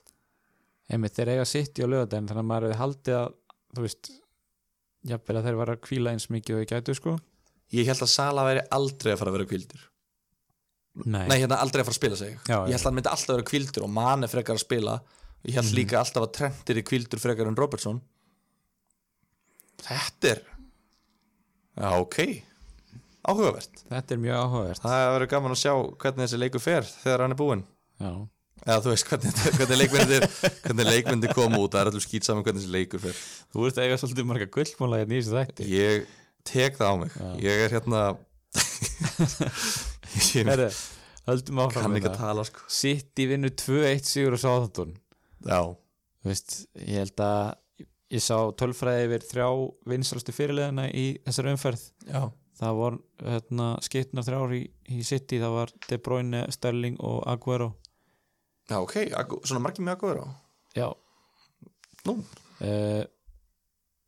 einmitt þeir eiga sitt í á lögadaginn þannig að maður hefði haldið að þú veist, jafnvel að þeir var að kvíla eins mikið og ég gætu sko
Ég held að Sala væri aldrei að fara að vera kvildur
Nei.
Nei, hérna aldrei að fara að spila sig
Já,
Ég
já. Mhm.
held að hann myndi alltaf að vera kvildur og manni frekar að spila Ég held líka alltaf að Trentir er kvildur frekar en Robertson Þetta er Já, ok Áhugavert
Þetta er mjög áhugavert
Það verður gaman að sjá hvernig þessi leikur fer þegar hann er búinn
Já,
Eða þú veist hvernig, [laughs] hvernig leikmyndir hvernig leikmyndir koma út, það er allir skýt saman hvernig þessi leikur fer
þú ert að eiga svolítið marga gullmóla hérna í þessu þætti
Ég tek það á mig Ég er hérna
[laughs]
Ég
Herre, höldum áfram hérna.
kann
með
ekki að
það
tala sko
Sitt í vinnu 2-1 sigur og sáðantón
Já,
Þú veist, ég held að ég sá tölfræði yfir þrjá vinsalstu fyrirleðina í þessari umferð
já
það var hérna, skiptnar þrjár í, í City, það var De Bruyne, Sterling og Aguero
Já, ok, Agu- svona margir mjög góður á
Já
Nú.
Eh,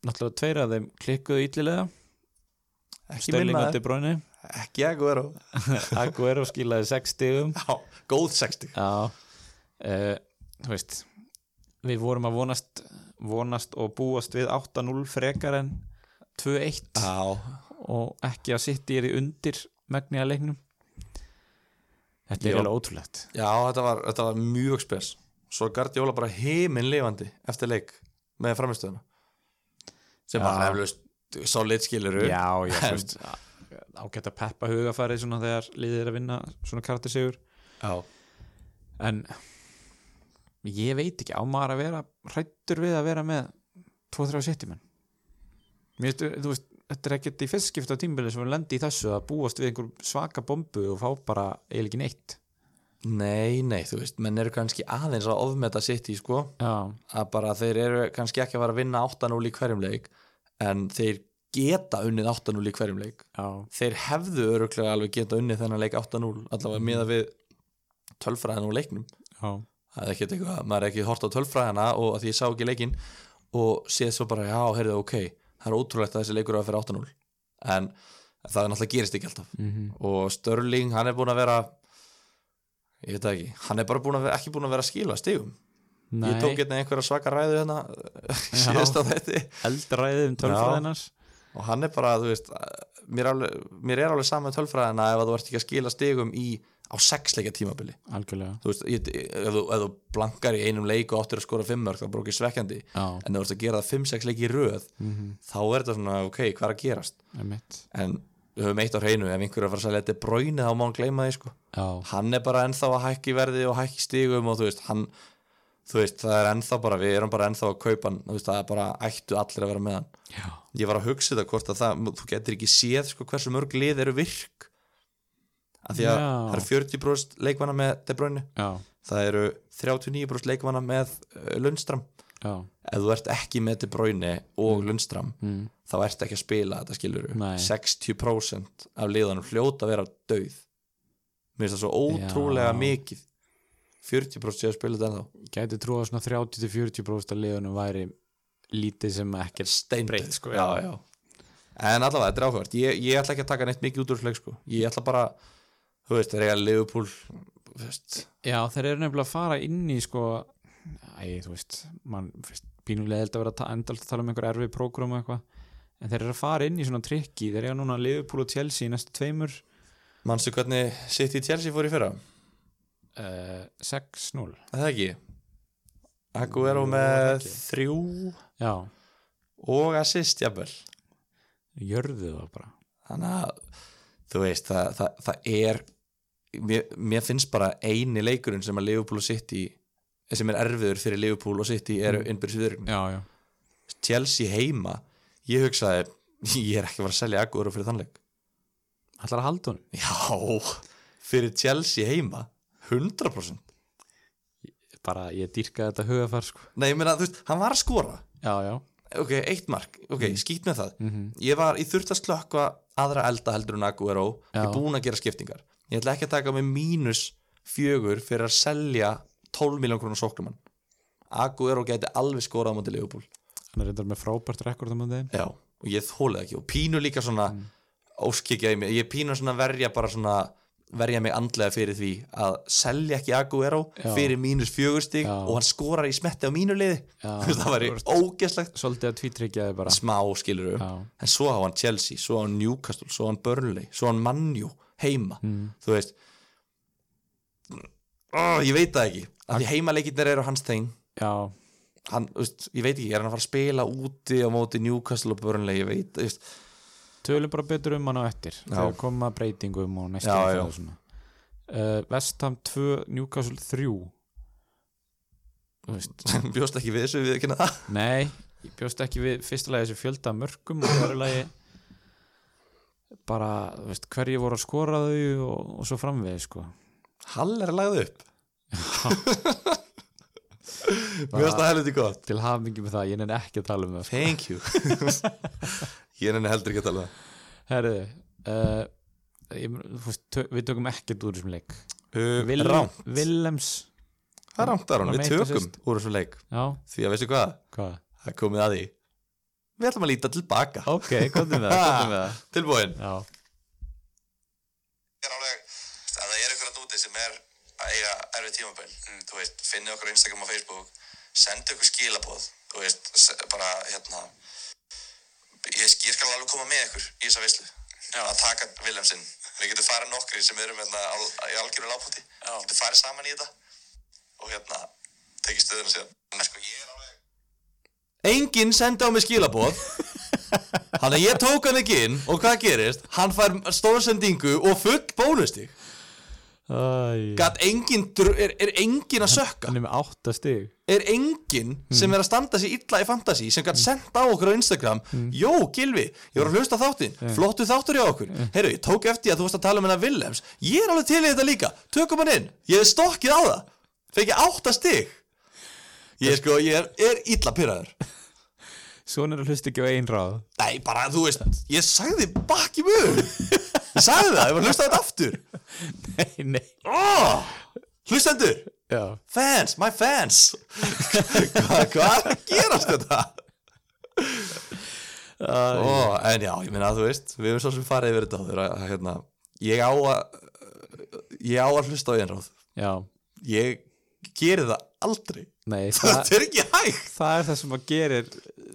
Náttúrulega tveir af þeim klikkuðu illilega
Ekki
Sterling
minna,
og De Bruyne
ekki að góður á
[laughs] Aguero skilaði sex stigum
Já, góð 60
Já uh, Þú veist Við vorum að vonast, vonast og búast við 8-0 frekar en 2-1
Já,
og ekki að sitt í því undir megniða leiknum Þetta
Já.
er alveg ótrúlegt
já þetta, var, þetta var mjög spes Svo er Gardiola bara heimin lifandi eftir leik með framistöðuna sem
Já.
bara eflaust solid skiluru
Já, já, þú veist ágætt að peppa hugafarið svona þegar liðið er að vinna svona karaktersigur
já,
en ég veit ekki á maður að vera hrættur við að vera með 2-3 setjumenn Mér veistu, þú veist, þetta er ekkert í fyrstskipta tímbili sem við lendi í þessu að búast við einhver svaka bombu og fá bara eiginlega ekki neitt
Nei, nei, þú veist, menn eru kannski aðeins að ofmeta sitt í sko
Já,
að bara þeir eru kannski ekki að fara að vinna 8-0 í hverjum leik en þeir geta unnið 8-0 í hverjum leik
já,
þeir hefðu öruglega alveg geta unnið þennan leik 8-0 allavega miða við tölfræðin og leiknum
já
það er ekki eitthvað, maður er ekki hort á tölfræðina og að því ég sá ekki leikin og séð svo bara, já, heyrðu, ok það er ótrúlegt að þessi leikur er að fyrir 8-0 en það er náttúrulega gerist ekki alltaf
mhm,
og Störling, hann er búin að vera ég veit það ekki, hann er bara búin að vera, ekki búin að vera að skila stigum
Nei,
ég tók hérna einhverja svaka ræðu hérna [laughs] síðast á þetta
eldræðið um tölfræðinars
og hann er bara, þú veist mér, alveg, mér er alveg saman tölfræðina ef að þú ert ekki að skila stigum í á sexleika tímabili
Algjörlega,
þú veist, ég, ef, þú, ef þú blankar í einum leik og áttir að skora fimm mörg þá er bara ekki svekkjandi
já,
en ef þú ert að gera það fimm, sex leiki í röð
mhm,
þá er þetta svona, ok, hvað er að gerast
emitt
en við höfum eitt á hreinu, ef einhver er að fara að selja þetta bróinu þá má hann gleyma því, sko
Já,
hann er bara ennþá að hækki verði og hækki stigum og þú veist, hann þú veist, það er ennþá bara, við erum bara ennþá að kaupa hann, þú veist, það er bara ættu allir að vera með hann
já,
ég var að hugsa þetta hvort að það þú getur ekki séð sko, hversu mörg lið eru virk af því að
Já.
það eru 40% leikvana með De Bruyne,
já,
það eru 39% leikvana með uh, Lundstram
já
ef þú ert ekki með De Bruyne og Lundstram
mhm.
þá ert ekki að spila þetta skilur
Nei.
60% af liðanum hljóta að vera döið mér finnst það svo ótrúlega
Já.
mikið 40% séu að spila þetta ennþá
gæti trú að svona 30-40% af liðunum væri lítið sem ekkert
steindauð
Breitt, sko,
já,
já.
já. en allavega þetta er áhugavert ég, ég ætla ekki að taka neitt mikið út úr þessu leik sko. ég ætla bara, þú veist, þegar ég að Liverpool þú veist,
já þeir eru nefnilega að fara inn í sko æ, þú veist, mann fyrst pínulega held að vera að enda alltaf að tala um einhver erfið prógram og eitthvað, en þeir eru að fara inn í svona trikki, þeir eru núna Liverpool og Chelsea í næstu tveimur
manstu hvernig City Chelsea fór í fyrra,
uh, 6-0
Er það ekki Aguero
Jú,
með
er það ekki?
þrjú
já,
og assist jafnvel
jörðu það bara
þannig að þú veist, það, það, það er mér, mér finnst bara eini leikurinn sem að Liverpool og City eh, sem er erfiður fyrir Liverpool og City eru innbyrðis viðurinn
já, já,
Chelsea heima ég hugsaði, [laughs] ég er ekki að fara að selja Aguero fyrir þannleik
allar að halda honum
já, fyrir Chelsea heima 100%
bara ég dýrkaði þetta hugafar sko
nei, ég meina, þú veist, hann var að skora
já, já,
ok, eitt mark, ok, skýt með það
mm -hmm.
ég var, ég þurfti að slökka aðra elda heldur en Aguero ég
Já.
er búin að gera skiptingar ég ætla ekki að taka með mínus fjögur fyrir að selja 12 miljón krónar sóknumann Aguero gæti alveg skorað á móti Leopold
hann er reyndar með frábært rekord á móti þeim
Já, og ég þólið ekki og pínu líka svona mm. óskikja í mig, ég pínu svona verja bara svona verja mig andlega fyrir því að selja ekki Aguero
Já.
fyrir mínus fjögurstig
Já.
og hann skorar í smetti á mínu liði
Já,
[laughs] það væri
þú
ógeslegt
svolítið að tvítryggjaði bara
smá skilur um,
já,
en svo hafa hann
Mhm.
Chelsea, svo hafa hann Newcastle svo hafa hann Burnley, svo hafa hann Manju heima, þú veist oh, ég veit það ekki af því heimaleikinir eru hans þeng
já,
hann, þú veist, ég veit ekki, er hann að fara að spila úti á móti Newcastle og Burnley ég veit, þú veist,
tölum bara betur um hann á eftir þegar koma breytingum og næstu
Já, já.
og svona uh, Vestham 2, Newcastle 3 Þú
[laughs]
veist,
bjóst ekki við þessu við ekki það
nei ég bjóst ekki við fyrstulega þessu fjölda af mörgum og verulegi bara, þú veist, hverju voru að skora þau og, og svo framvegi sko
Hall er að lagða [laughs] upp
Bara-
Mér finnst það helviti gott
til hafingi með það, ég nenni ekki að tala um það sko.
Ah. Thank you [laughs] Ég er henni heldur ekki að tala um
herðu uh, ég, þú veist, tö- við tökum ekkert úr þessum leik
það uh,
Willem-
Rám,
Willems,
það er rámt Aron,
Hann
við
meiddist.
tökum úr þessum leik
já,
Því að veistu hvað,
hvað
það er komið að því Við ætlum að líta tilbaka
ok, komðum við það, komðum við það
Tilbúin
já
Það er alveg, að það er ykkur að úti sem er að eiga erfið tímabil Mm, þú veist, finnið okkur á Instagram og Facebook sendu ykkur skilaboð þú veist, se- bara hérna ég, sk- ég skal alveg koma með ykkur í þessa veislu að taka Viljámsinn, við getum farið nokkri sem erum hérna á, í algjöru lápúti við getum farið saman í þetta og hérna, tekið stöðuna síðan en sko, ég er alveg
Enginn sendi á mig skilaboð Þannig að ég tók hann ekki inn Og hvað gerist? Hann fær stórsendingu og full bónustig
Æ,
Gat enginn, dr- er, er enginn að sökka
hann er með átta stig
er enginn sem er að standa sér illa í fantasy sem gætt sendt á okkur á Instagram Jó, Gilvi, ég var að hlusta á þáttinn flottu þáttur hjá okkur, heyrðu, ég tók eftir að þú varst að tala um hennar Willems, ég er alveg til í þetta líka tökum hann inn, ég hef stokkið á það fekk ég átta stig ég sko, ég er, er illa pyrraður
Svona er að hlusta ekki á ein
[laughs]
ráð
nei, bara, þú veist, ég sagði bakki mjög, ég sagði það ég var að hlusta á þetta aftur
Nei, nei
oh, hlustendur,
Já,
fans, my fans hvað hva gerast þetta Ó, en já, ég meina að þú veist við erum svo sem farið yfir þetta áður að, að, hérna, ég á að ég á að hlusta á einráð
já,
ég geri það [laughs] aldrei
nei það,
það er ekki hægt
það er það sem að gerir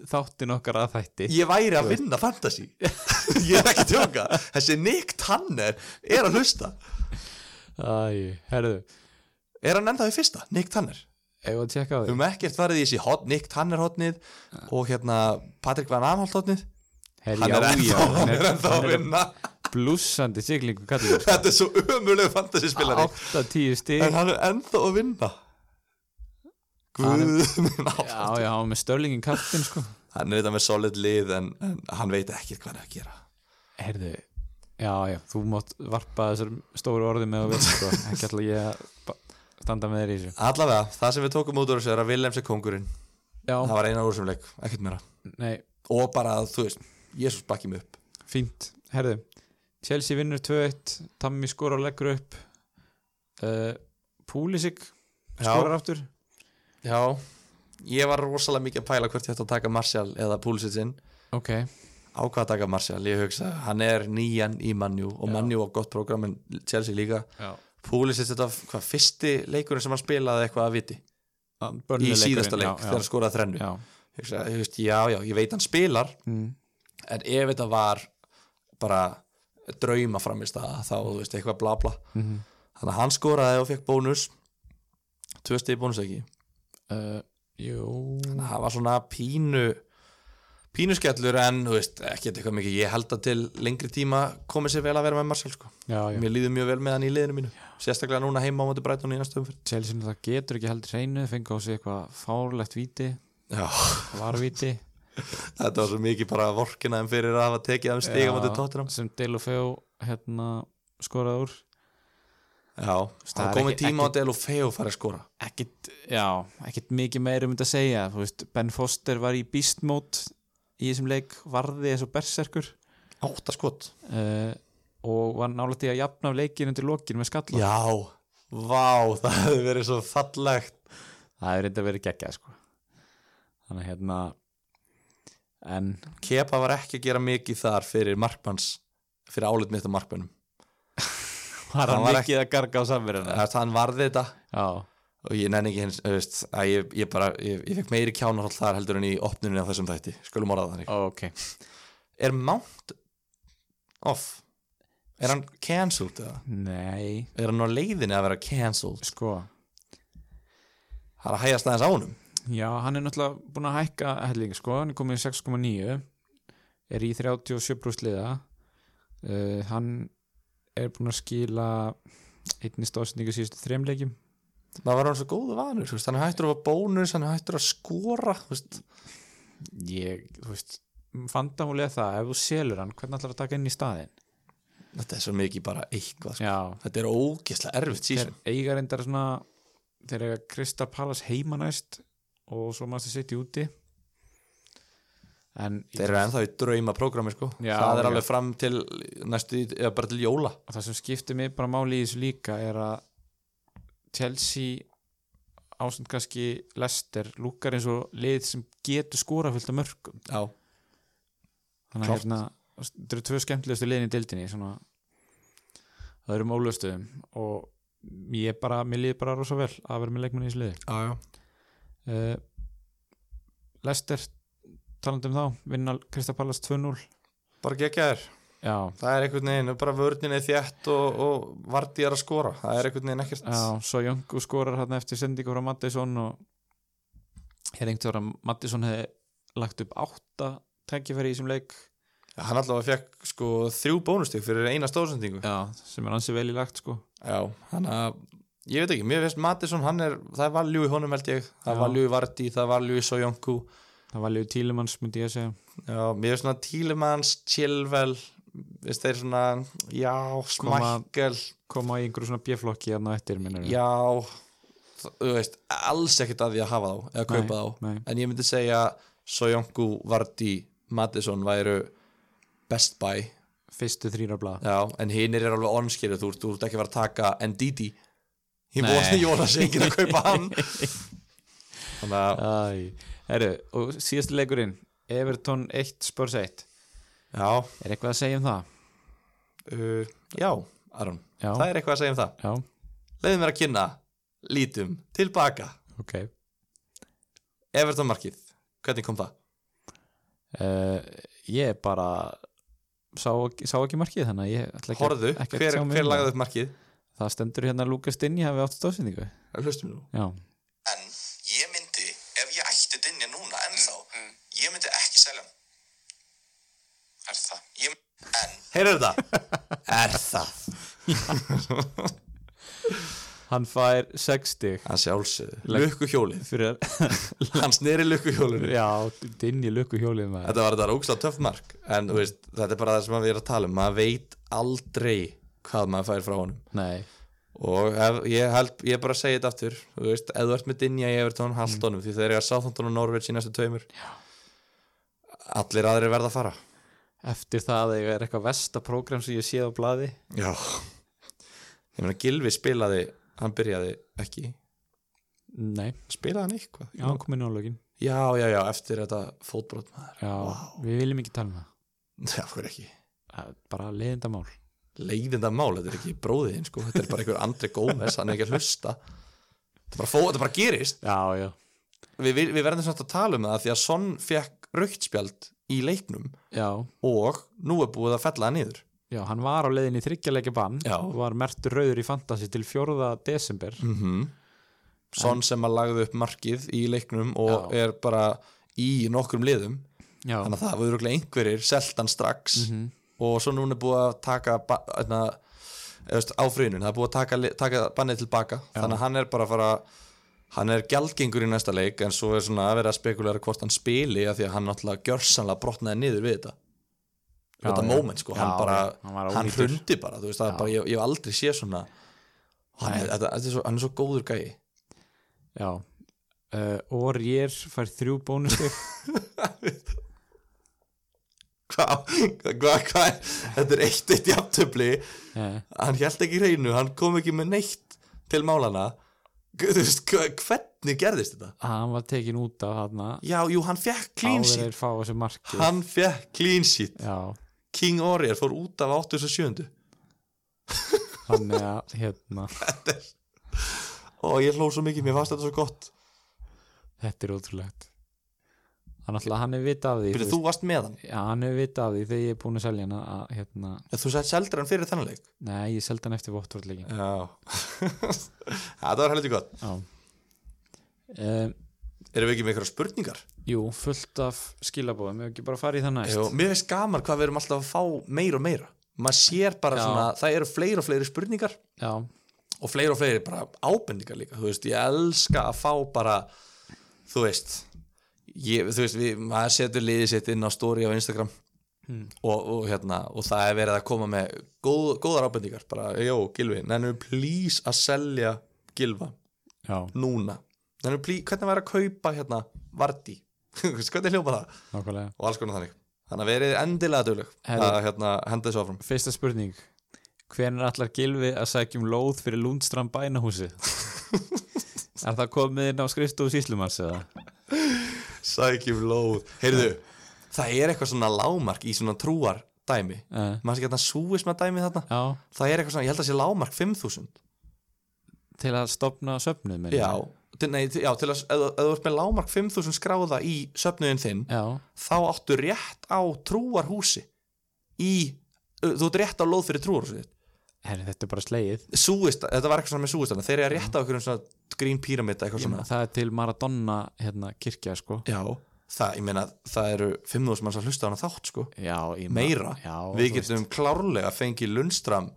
þáttin okkar að þætti
ég væri að vinna fantasy [laughs] ég er ekki að tjóka þessi Nick Tanner er að hlusta
Æ, herðu,
er hann ennþá í fyrsta, Nick Tanner
eigum við að tjekka á
við
því
höfum ekkert farið í þessi hot, Nick Tanner hotnið og hérna Patrick Van Aanholt hotnið
Herri,
hann er
já, já,
ennþá hann er ennþá
hann
að
er
vinna
blúsandi siglingu kallið
[laughs]
sko.
þetta er svo ömulegu fantasy spilari
8-10 stig
en hann er ennþá að vinna
Hann er-
Guð minn
Já,
áfram
já, hann var með störlingin kallin sko
hann er þetta með solid lið en, en hann veit ekki hvað hann er að gera
Herðu, já, já, þú mátt varpa þessar stóru orði með að við sko Ekki ætla ég að ba- standa með þér í þessu
allavega, það sem við tókum út úr þessu er að Willems er kongurinn það
Já,
var eina úr sem leik, ekkert meira
nei,
og bara, þú veist, Jésús bakki mig upp
Fínt, herðu Chelsea vinnur 2-1, Tammy skora og leggur upp uh, Púlisik
Já.
skorar aftur
já, ég var rosalega mikið að pæla hvort ég ætti að taka Martial eða Púlisitsin
Ok,
ákvað að taka Martial, ég hugsa hann er nýjan í Manjú og Manjú á gott prógram en Chelsea líka
já
Púlisits þetta var hvað fyrsti leikurinn sem hann spilaði eitthvað að viti í síðasta leik
hérna. já,
þegar hann skoraði þrennu
já,
Ég hugsa, ég veist, já, já, ég veit hann spilar
Mm.
en ef þetta var bara drauma framist að þá, þú veist, eitthvað bla bla
Mhm.
þannig að hann skoraði og fekk bónus tvö stið bónus ekki
uh, Jú
þannig að það var svona pínu pínu skellur en, þú veist, ekki eitthvað mikið ég held að til lengri tíma komið sér vel að vera með Marcel, sko
já, já.
mér líður mjög vel með hann í liðinu mínu sérstaklega núna heima á móti Brighton í næstu umfyrir
Chelsea náttúrulega getur ekki heldur hreinu fengi á sig eitthvað fárlegt víti
já,
varvíti [laughs]
þetta var svo mikið bara vorkina en fyrir að hafa tekið af stiga móti Tottenham
sem Delofeu hérna skoraði úr
já,
það
það
er
komið
ekki-
tíma
ekki-
á Delofeu fara að skora
ekkit, já, ekkit mikið meira um þetta að segja, þú veist, Ben Foster var í beast mode í þessum leik varði eins og berserkur
átta skot
uh, og var nálægt í að jafna af leikinu undir lokin með skalla
já, vá, það hefði verið svo fallegt
það er reynda verið geggjað sko þannig að hérna en
Kepa var ekki að gera mikið þar fyrir markmanns fyrir álut mitt á markmannum
var
hann
hann
var
mikið að garga á samverðina
þannig að hann varði þetta
já,
og ég nenni ekki hins, þú veist, að ég, ég bara ég, ég fekk meiri kjánarhald þar heldur en í opnunni á þessum þætti, skulum orða það þannig
ok
er Mount off Er hann cancelled eða?
Nei,
Er hann á leiðinni að vera cancelled?
sko
Það er að hægast aðeins á honum
Já, hann er náttúrulega búin að hækka helling, sko, hann er komið í 6,9 er í 37 brústliða uh, hann er búin að skila einnig stóðsendingu síðustu þremleikjum
Það var hann svo góðu vanur, þú veist, hann er hættur að fá bónus, hann er hættur að skora, þú veist,
ég, þú veist fandamulega það, ef þú selur hann hvernig ætlar að taka inn í staðin
þetta er svo mikið bara eitthvað, sko.
Já,
Þetta er ógeðslega erfitt
þeir
sísum.
eiga reyndar svona þeir eiga Krista Pallas heima næst og svo maður sér sitt í úti en
Þeir eru ennþá í drauma prógrami, sko.
Já,
það er
já.
alveg fram til næstu, eða bara til jóla.
og það sem skiptir mig bara máli í þessu líka er að Chelsea ásend kannski Lester lúkar eins og lið sem getur skora fullt af mörgum
Já.
þannig að
Klárt.
hérna þetta eru tvö skemmtilegustu liðin í deildinni svona það eru málustuðum og ég bara, mér líður bara rosa vel að vera með leikmenni í þessu liði
Já, já.
uh, Lester talandi um þá, vinna Kristapallas 2-0
Bara gegja þér.
já,
Það er einhvern veginn, bara vörnin er þjætt og, og vardið er að skora. Það er einhvern veginn ekkert.
Já, svo Jöngu skorar hann eftir sendingu frá Mattisson og hér einhvern veginn að Mattisson hefði lagt upp átta tækifæri í þessum leik
Hann allavega fekk sko þrjú bónustík fyrir eina stóðsendingu.
Já, sem er ansi vel í lagt sko
Já, hann að ég veit ekki, mér finnst Mattisson, hann er það er valjú í honum held ég, það
Já.
er valjú í Vardí það er valjú í Sojónku
Það var liður tílumanns, myndi ég að segja
já, mér finnst svona Tílemanns, Chilvel veist þeir svona, já
Koma-
smækkel,
koma í einhverju svona bjöflokki hérna á eftir minnur
já þ- þú veist, alls ekkert að því að hafa þá eða kaupa þá,
nei.
en ég myndi segja Sojónku, Vardí, Mattisson væru best buy
Fyrstu þrýra blað
já, en hinir er alveg onskýrið, þú, ert- þú ert ekki að fara að taka NDD, hinn
Nei.
[laughs] bóði Jónas enginn að kaupa
[laughs]
hann þannig að
Æ, herru, og síðasti leikurinn Everton 1, Spurs 1
Já,
Er eitthvað að segja um það?
uh, já, Aron
Já.
Það er eitthvað að segja um það
Já,
Leðum mér að kynna, lítum, tilbaka
ok
Everton markið, hvernig kom það?
uh, Ég bara sá, ekki- sá ekki markið þannig að ég ætla ekki,
Horðu,
ekki að
hver,
tjá mig um
hver
það.
lagði upp markið?
Það stendur hérna að Lukas Dinni hafi átt stóðsendingu
Hlustum nú
Já,
En ég myndi, ef ég ætti dinja núna ennþá, ég myndi ekki selja hann. Er það? Ég, en
Heyrðu þetta? [laughs] er það?
hann fær 6 stig
Hann sjálfsögðu Lukkuhjólið,
[laughs] fyrir
hann sneri lukkuhjólinu
Já, Dinni lukku hjólið maður
Þetta var þetta ógslag töff mark En þú veist, þetta er bara það sem við erum að tala um Maður veit aldrei hvað maður fær frá honum
Nei,
og ef, ég, held, ég bara segi þetta aftur þú veist, ef þú ert með Dinja í Evertón hald honum því þeir eru að Southampton og Norwich í næstu tveimur Mm. Já. allir aðrir verða að fara
eftir það að ég er eitthvað vesta prógram sem ég séð á blaði
Já. ég meina Gilvi spilaði hann byrjaði ekki
Nei,
spilaði hann eitthvað?
já, hann kom inn á lögin
já, já, já, eftir þetta fótbrot maður [laughs]
Já, við viljum ekki tala um það
Já, hver ekki
Það er Bara leiðindamál
leiðinda mál, þetta er ekki bróðiðin sko. þetta er bara einhver Andri Gómez, hann er ekki að hlusta þetta bara, fó, þetta bara gerist
Já, já,
við, við, við verðum svona að tala um það því að Son fekk rauktspjald í leiknum
já,
og nú er búið að fella hann niður
já, hann var á leiðin í þryggjaleikja bann
Já.
og var mertur rauður í Fantasy til 4. desember
mm Son sem að lagði upp markið í leiknum og
Já.
er bara í nokkrum liðum
Já,
þannig að það voru örugglega einhverjir selt hann strax
Mhm.
og svo núna er búið að taka ba- hérna, eða veist, áfrýðinu það er búið að taka, li- taka bannið tilbaka þannig að hann er bara að fara hann er gjaldgengur í næsta leik en svo er svona að vera að spekulera hvort hann spili af því að hann náttúrulega gjörsanlega brotnaði niður við þetta
Já,
þetta
já.
moment sko, hann
Já,
bara,
já, hann var
hann,
ónýtur.
hrundi bara, þú veist, það er bara, ég, ég hef aldrei séð svona hann er, þetta, þetta er svo, hann er svo góður gæi [laughs]
já uh, Og ég fær þrjú bónustig
hvað, hvað, hvað þetta er eitt eitt jafntöfli
Já,
hann held ekki í hreinu, hann kom ekki með neitt til málana Gu- þú veist, hva- hvernig gerðist þetta
hann var tekin út af þarna
já, jú, hann fekk clean
áður
sheet
þeir fá þessu marki
hann fekk clean sheet
já,
King Orier fór út af 87
þannig að hérna,
og ég hló svo mikið, mér fannst þetta svo gott
þetta er ótrúlegt hann alltaf, hann er vita af því
Byrju,
þú
þú varst með hann
veist. já, hann er vita af því þegar ég er búin að selja hann að, hérna,
Já, Þú sætt seldur hann fyrir þennan leik
nei, ég seldi hann eftir vottvörðleikin
Já [laughs] Það var heldur gott
já um,
Erum við ekki með einhverja spurningar?
jú, fullt af skilabóðum ég ekki bara farið í það næst
Jó, mér finnst gaman hvað við erum alltaf að fá meira og meira Maður sér bara
Já.
svona Það eru fleiri og fleiri spurningar
já,
og fleiri og fleiri bara ábendingar líka þú veist, ég elska að fá bara þú veist ég, þú veist, við, maður setur liðið sitt inn á story á Instagram og, og hérna, og það er verið að koma með góð, góðar ábendingar, bara, jó, Gilvi nennum please að selja Gilva
já,
núna nennum please, hvernig væri að kaupa hérna Vardí, [laughs] Þú veist, hvernig hljópa það
nákvæmlega
og alls konar þannig, þannig að verið endilega dölug
Herri.
að hérna, henda þessu áfram
fyrsta spurning hvernig allar gilfi að sækjum lóð fyrir Lundstrand
[laughs]
bænahúsi er það komið inn á skrifstofu síslumans eða?
Sækjum lóð Heyrðu, það er eitthvað svona lámark í svona trúar dæmi
Uh,
Maður sé ekki að súisma dæmi þarna
já,
Það er eitthvað svona, ég held að sé lámark 5000
til að stopna söfnuð minni
Já, til, nei, til- já, til að, ef, þú- ef þú ert með lámark 5000 skráða í söfnuðin þinn
já,
Þá áttu rétt á trúarhúsi Í, þú ert rétt á lóð fyrir trúarhúsi þitt.
herri, þetta er bara slegið
Súist, þetta var eitthvað svona með súistana Þeir eru að rétt á einhverjum svona grín píramita eitthvað
Ég
svona
meina, það er til Maradona hérna, kirkja sko
Já, það, ég meina, það eru 5000 manns að hlusta á hana þátt sko
já, ég meina-
meira
já,
við
þú
getum klárlega fengið Lundstram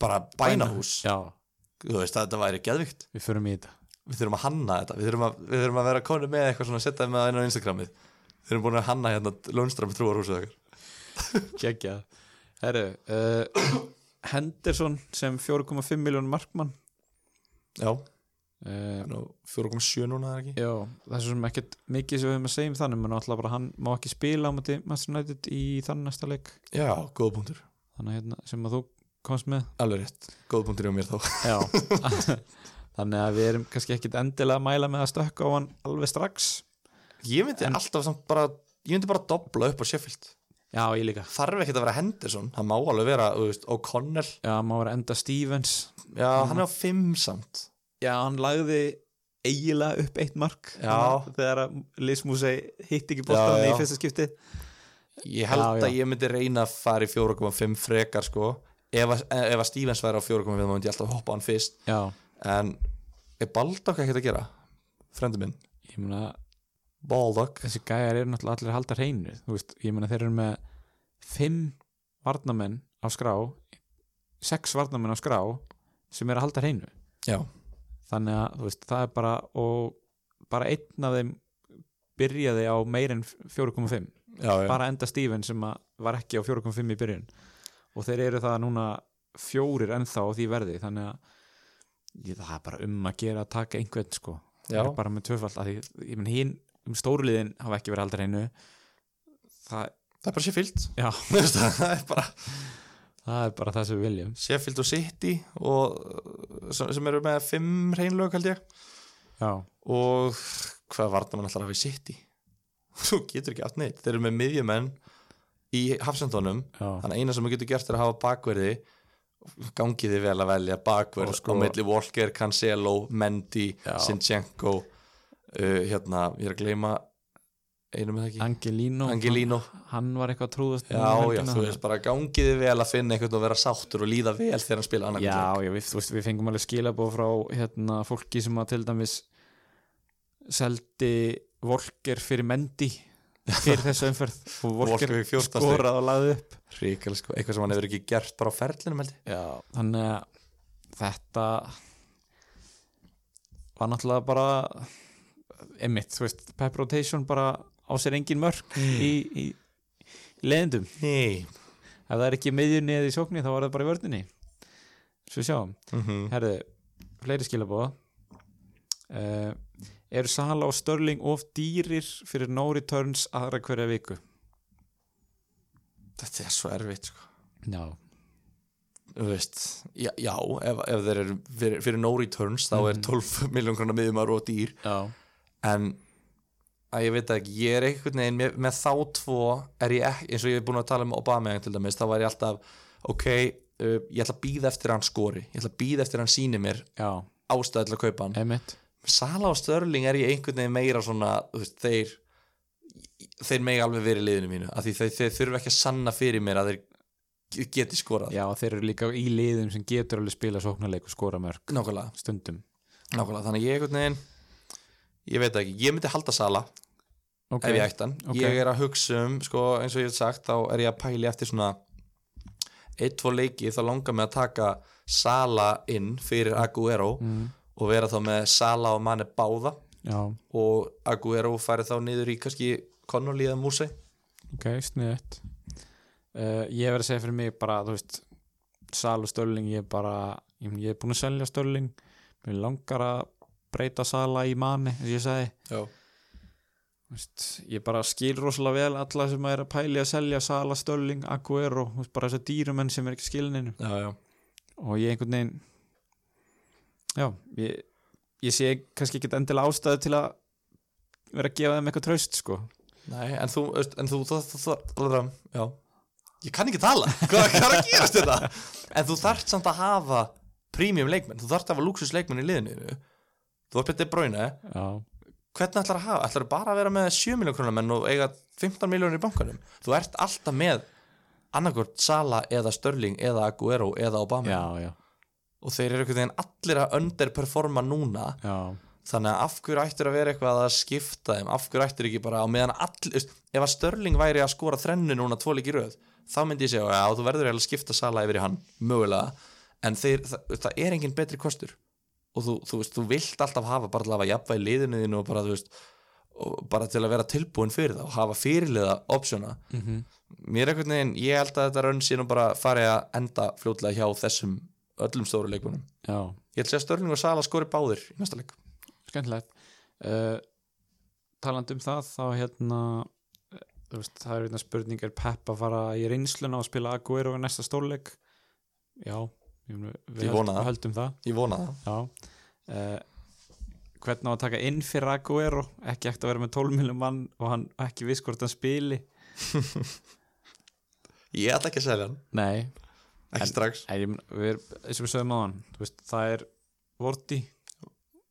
bara bænahús
veist. já,
þú veist þetta væri geðvikt
við förum í þetta
við þurfum að hanna þetta, við þurfum að, við þurfum að vera konu með eitthvað svona að setja með það inn á Instagramið við þurfum búin að hanna hérna Lundstram trúarhúsið okkar
Kekja Herru, uh, [coughs] Henderson sem 4,5 miljón markmann
já,
uh,
nú 4.7 núna er ekki
Já, það er svo sem ekkert mikið sem við höfum að segja um þannig menn alltaf bara hann má ekki spila á móti Master United í þann næsta leik
já, góð punktur,
þannig að hérna, sem að þú komst með
alveg rétt góð punktur hjá mér þá
Já [laughs] Þannig að við erum kannski ekkit endilega að mæla með að stökka á hann alveg strax
[laughs] ég myndi alltaf samt bara ég myndi bara dobla upp á Sheffield
Já, ég líka
þarf ekki að vera Henderson, það má alveg vera þú veist, O'Connell,
Já, má vera enda Stevens
já, hann er á 5 samt
Já, hann lagði eiginlega upp eitt mark
Já.
þegar að Lismusei hitti ekki
boltann í fyrsta
skipti
Ég held
Já, já.
að ég myndi reyna að fara í 4,5 frekar sko ef, að- ef að Stevens væri á 4,5 þá myndi ég alltaf hoppa á hann fyrst
Já,
en er Baldock ekkert að gera? Frendi minn,
ég meina
Baldock
þessi gæjar eru náttúrulega allir að halda hreinu þú veist, ég meina þeir eru með fimm varnamenn á skrá sex varnamenn á skrá sem eru að halda hreinu
Já,
þannig að þú veist, það er bara og bara einn af þeim byrjaði á meir en 4,5
já, já,
bara enda Steven sem að var ekki á 4,5 í byrjun og þeir eru það núna fjórir ennþá á því verði þannig að ég, það er bara um að gera að taka einhvern sko
já.
er bara með tvöfald að því, ég menn hinn um stóruliðin hafa ekki verið aldrei einu það,
það er bara Sheffield
já,
[laughs] Þú veist, það er bara
það er bara það sem við viljum
Sheffield og City og, uh, sem sem eru með 5 reynlög held ég
já,
og hvað varna mann alltaf að hafa í City [laughs] þú getur ekki allt neitt þeir eru með miðjumenn í hafsendunum
já,
þannig að eina sem þú getur gert er að hafa bakverði gangi þið vel að velja bakverð
Og sko-
á milli Walker, Cancelo, Mendy
Já.
Sinchenko uh, hérna, ég er að gleyma einu með það ekki,
Angelino
Angelino
hann, hann var eitthvað trúðast
já, já, þú veist bara gangi þið vel að finna einhvern og vera sáttur og líða vel þegar hann spila annar
já, já, við, þú veist, við fengum alveg skilabóð frá hérna, fólki sem að til dæmis seldi Volker fyrir Mendy fyrir þessu
[laughs]
umferð og Volker,
Volker í 14 stig.
skorað og laði upp
Ríkala, sko, eitthvað sem hann hefur ekki gert bara á ferlinum held ég
Já, þannig að þetta var náttúrulega bara einmitt, þú veist, Pep Rotation bara á sér engin mörk í, í leðendum
Nei.
ef það er ekki í miðjunni eða í sókni þá var það bara í vörninni svo sjáum,
Mhm.
Mm. herðu fleiri skilabóða uh, eru Sala og Störling of dýrir fyrir no returns aðra hverja viku?
þetta er svo erfitt sko.
Já,
Þú veist, já, já ef, ef þeir eru fyrir, fyrir no returns þá
Mhm.
er 12 miljón krona miðjumar og dýr
já,
en að ég veit það ekki, ég er einhvern veginn með, með þá tvo er ég ekki, eins og ég er búin að tala um Obama til dæmis, þá var ég alltaf ok, uh, ég ætla að býða eftir að hann skori ég ætla að býða eftir að hann síni mér
já,
ástæði til að kaupa hann
einmitt
Sala og Störling er ég einhvern veginn meira svona þú veist, þeir þeir megi alveg verið í liðinu mínu af því þeir, þeir þurfa ekki að sanna fyrir mér að þeir geti skorað
Já, þeir eru líka í liðum sem getur alveg spila sóknarleik og skora mörg
nákvæmlega,
stundum
nákvæmlega, þannig að ég einhvern veginn ég veit það ekki, ég myndi halda sala
Ok,
ef ég ætti hann
Ok.
ég er að hugsa um, sko, eins og ég hef sagt þá er ég að pæli eftir svona eitt, tvo leiki, þá langar mig að taka Sala inn fyrir Aguero og vera þá með Sala og manni báða
Mm. já,
og Aguero færi þá niður í kannski Connolly eða Musei
ok, sniðut uh, Ég verið að segja fyrir mig bara, þú veist Sal og Stölling, ég er bara ég, meina, ég er búin að selja Stölling mér langar að breyta Sala í manni, eins og ég sagði
Já,
Þú veist, ég bara skil rosalega vel alla sem er að pæli að selja Sala, Stölling, Aguero, þú veist, bara þessar dýrumenn sem er ekki skilininu
já, já,
og ég einhvern veginn já, ég, ég sé kannski ekki endilega ástæðu til að vera að gefa þeim eitthvað traust sko
nei, en þú veist, en þú, þú, þú, þú, þú, þú já, ég kann ekki [laughs] tala hvað, hvað er að gerast þetta en þú þarft samt að hafa premium leikmenn, þú þarft að hafa luxus leikmenn í liðinu þínu. þú þarft betið bráinu
já,
hvernig ætlar að hafa, ætlar bara að vera með 7 miljón krónar menn og eiga 15 miljónir í bankanum þú ert alltaf með annarkvort Sala eða Störling eða Aguero eða Obama
já, já,
og þeir eru einhvern veginn allir að underperforma núna
já.
þannig að af hverju ættir að vera eitthvað að skipta þeim af hverju ættir ekki bara á meðan allir veist, ef að Störling væri að skora þrennu núna tvo leiki í röð, þá myndi ég segja já, þú verður eiginlega að skipta Sala yfir í hann, mögulega en þeir, það, það er enginn betri kostur og þú, þú veist, þú vilt alltaf hafa bara til að hafa jafnvæg liðinu þínu og bara, þú veist og bara til að vera tilbúin fyrir það og hafa fyrirliða optiona
Mhm.
mér einhvern veginn, ég held að þetta rönn sé nú bara farið að enda fljótlega hjá þessum öllum stóru leikunum
já.
ég held að segja Störling og Sala skori báðir í næsta leik
skemmtilegt uh, talandi um það þá hérna eh, þú veist, það er einna spurning er Pep að fara í reynsluna og spila Aguero í næsta stórleik já, ég mun- við
Ég vona
höldum, höldum
það.
það
ég vona það
Já uh, Hvernig á að taka inn fyrir Aguero ekki ekkert að vera með 12 miljum mann og hann ekki viss hvort hann spili
Ég ætla ekki að selja hann,
Nei,
ekki
En-
strax
ég, mun- við erum, eins og við sögum á hann veist, það er Vorti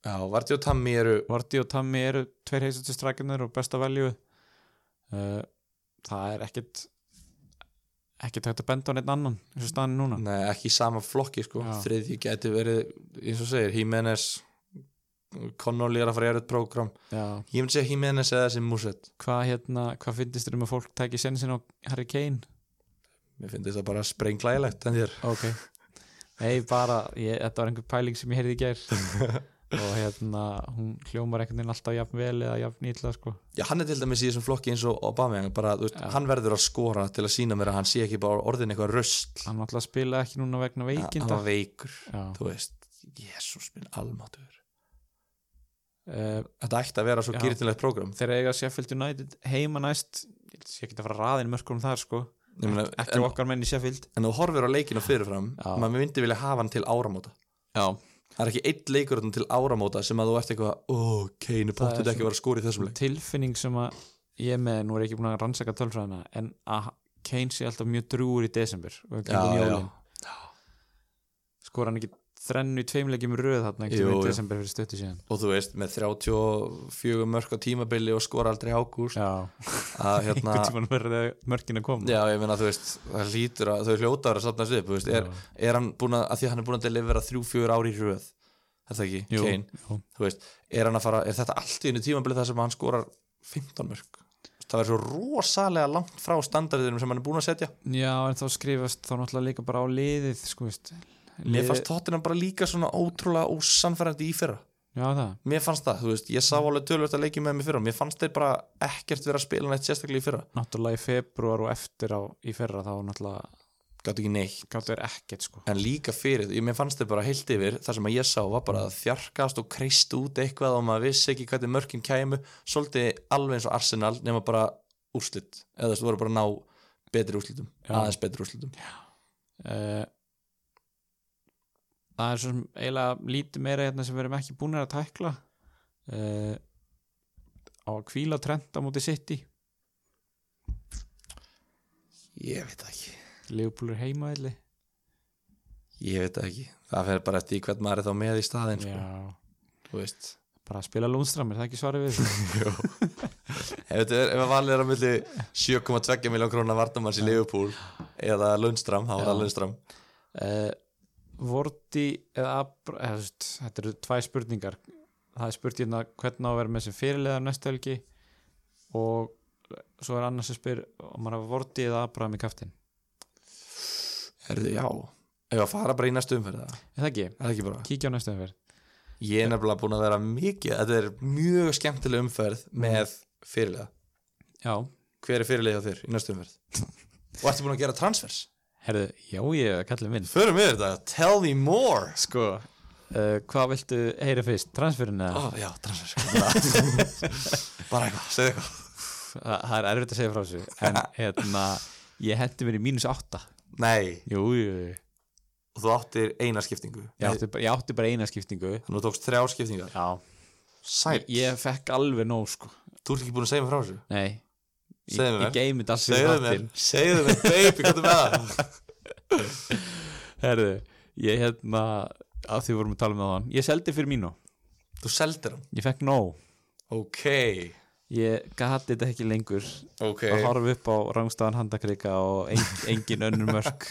Já, Varti og Tammy eru
Vorti og Tammy eru tveir heistustu strækjarnir og besta velju uh, það er ekkert ekkert hægt að benda á neitt annan eins og staðan er núna
Nei, ekki í sama flokki sko
Já.
Þriðji gæti verið, eins og segir, Jimenez Connolly er að fara í erut prógram
Já.
Ég myndi segja Jimenez eða þessi Muset
Hvað hérna, hvað finnst þér um að fólk tæki sensin á Harry Kane?
Mér finnst þetta bara sprenglægilegt en þér
ok nei bara, ég, þetta var einhver pæling sem ég heyrði í gær [laughs] og hérna hún hljómar einhvern veginn alltaf jafn vel eða jafn ítla sko
Já, hann er til dæmis í þessum flokki eins og Obama bara, þú veist,
Já.
hann verður að skora til að sína mér að hann sé ekki bara orðin eitthvað röst
hann alltaf spilaði ekki núna vegna veikinda
var veikur,
já,
þú veist Jésús minn almátur
uh,
Þetta ætti að vera svo
Já.
gyrtilegt prógram
þegar eiga Sheffield United heima næst ég held að sé ekki að fara að raðin mörkurum þar sko ekki
En
okkar menn í Sheffield
en þú horfir á leikinu fyrirfram
Já.
maður myndi vilja hafa hann til áramóta
já,
það er ekki eitt leikur þarna til áramóta sem að þú ert eitthvað, ó,
Það
Kane,
er
pottur ekki
svona-
að vera skóri í þessum leik
tilfinning sem að ég er með, nú er ég ekki búin að rannsaka tölfræðina en að Kane sé alltaf mjög drúur í desember og ekki um jólin skor hann ekki þrennu í tveimlegjum röð þarna ekki
Jú,
í
jú.
desember fyrir stöttu síðan
og þú veist, með 34 mörk á tímabili og skora aldrei í ágúst
já,
[laughs] að hérna,
einhvern tímann verða mörkin að koma
já, ég meina, þú veist það lítur að, þau hljótar að safna sig upp þú veist, er, er hann búin að, að því að hann er búin að delivera 3-4 ári í röð er það ekki,
Jú,
Kane,
jú.
þú veist er hann að fara, er þetta allt í einu tímabili þar sem hann skorar 15 mörk það verður svo rosalega langt frá standardinum sem hann er búin að setja
já, en þá skrifast þá náttúrulega líka bara á liðið sko veist
Mér fannst Tottenham bara líka svona ótrúlega ósamfærandi í fyrra
já, það,
Mér fannst það, þú veist, ég sá alveg tölvöld að leikja með mér fyrra Mér fannst þeir bara ekkert vera að spila neitt sérstaklega í fyrra
náttúrulega í februar og eftir á, í fyrra þá náttúrulega
Gátt ekki neitt
gáttu þér ekkert sko
En líka fyrir, því, mér fannst þeir bara heilt yfir Það sem að ég sá var bara að þjarkast og kreist út eitthvað Og maður vissi ekki hvernig mörkin kæmu Svolítið alveg eins og Arsenal nema bara úrslit Eða þú veist, voru bara að ná betri úrslitum
Já.
Aðeins betri úrslitum
uh, það er svo sem eiginlega lítið meira hérna sem við erum ekki búin að tækla uh, á að kvíla trend á móti sitt í
Ég veit það ekki
Leopold heimaðli
Ég veit það ekki Það fer bara eftir því hvern maður er þá með í staðinn sko,
já
þú veist.
bara að spila Lundström, er það ekki svarið við því?
Ef þetta er- ef að valið er á milli 7,2 miljón krónar vartamanns í Liverpool eða Lundstram, þá er það Lundstram
uh, Vorti eða Abra, eða, þú veist, þetta eru tvæ spurningar það er spurt hérna hvernig á að vera með sem fyrirleðar næstu helgi og svo er annars að spyr om maður hafa Vorti eða Abram í kaftin
Herðu, já Ef að fara bara í næstu umferð eða?
er það ekki?
Er það ekki bara?
Kíkja á næstu umferð
Ég er nefnilega búin að vera mikið Þetta er mjög skemmtileg umferð með fyrirlega
Já,
Hver er fyrirlega hjá þér í næstu [laughs] umferð? Og ertu búin að gera transfers?
herðu, já ég kallið minn
Förum við þetta, tell me more
Sko, uh, hvað viltu heyra fyrst? Transferin eða?
Ó, Já, transfers [laughs] Bara bara eitthvað, segðu eitthvað
Þa, það er erfitt að segja frá þessu [laughs] en hérna, ég hendi mér í mínus átta
Nei,
Jú, jú, jú
og þú áttir eina skiptingu
Ég átti, bara- ég átti bara eina skiptingu
Þannig að þú tókst þrjár skiptingar
Já,
Sæl,
ég fekk alveg nóg sko
þú ert ekki búin að segja mér frá þessu
Nei, ég,
Segðu mér.
ég geymi þetta alls
Segðu mér, segðu mér, baby, hvað er með það?
Herðu, ég hérna að því við vorum að tala um það hann Ég seldi fyrir mínu,
Þú seldir hann
ég fekk nóg
Ok,
Ég gati þetta ekki lengur
ok
að horfa upp á rangstæðan handakrika og en, engin önnur mörk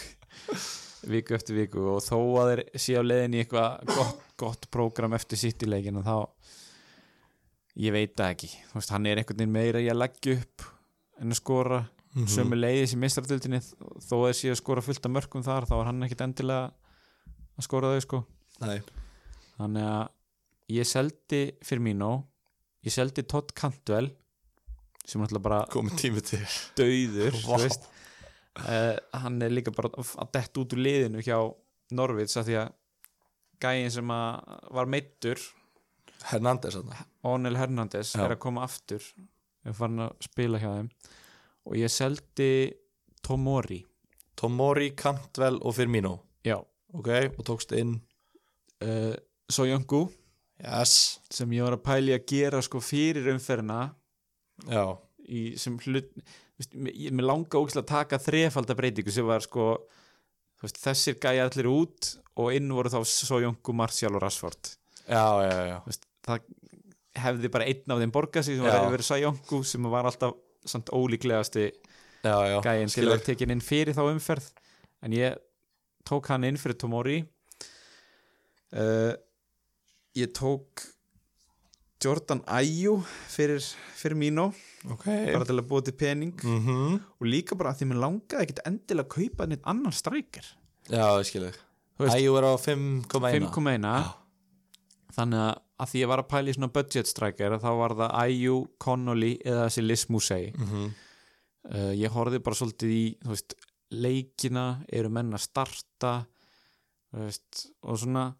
[laughs] viku eftir viku og þó að þeir séu á leiðin í eitthvað gott, gott prógram eftir sitt í leikin þá ég veit það ekki Þú veist, hann er einhvern veginn meira í að leggja upp en að skora
Mhm.
sömu leiðis í mistradöldinni þó að þeir séu að skora fullt af mörkum þar þá er hann ekkit endilega að skora þau sko
Nei,
þannig að ég seldi Firmino ég seldi Todd Cantwell sem er alltaf bara
komið tími til
dauður
Vá.
wow. veist, uh, hann er líka bara að detta út úr liðinu hjá Norvids að því að gæin sem að var meittur
Hernandez hann
Onel Hernández
Já.
er að koma aftur er farin að spila hjá þeim og ég seldi Tomori
Tomori, Cantwell og Firmino
já,
Ok, og tókst inn
uh, Soyungu
Yes
sem ég var að pæli að gera sko fyrir umferðina
Já,
í sem hlut veist, mér- ég- mér langa ógislega að taka þrefalda breytingu sem var sko þú veist, þessir gæja allir út og inn voru þá Sojónku, Marcial og Rashford
já, já, já
Þú veist, það hefði bara einn af þeim borgað sig sem
Já.
var hefði verið Sojónku sem var alltaf samt ólíklegasti
Já, já,
gæjan til að
skilur.
vera tekin inn fyrir þá umferð en ég tók hann inn fyrir Tomori uh, ég tók Jordan Ayew fyrir, fyrir Mino
Ok
bara til að búa til pening
mm
og líka bara að því mér langaði ekki endilega að kaupa neitt annan strækir
Já, ég skilur
Þú veist-
Æjú er á 5,1
5,1 þannig að, að því ég var að pæla í svona budget strækir þá var það IU, Connolly eða þessi Liz Musei
Mhm.
uh, ég horfði bara svolítið í þú veist, leikina, eru menn að starta þú veist, og svona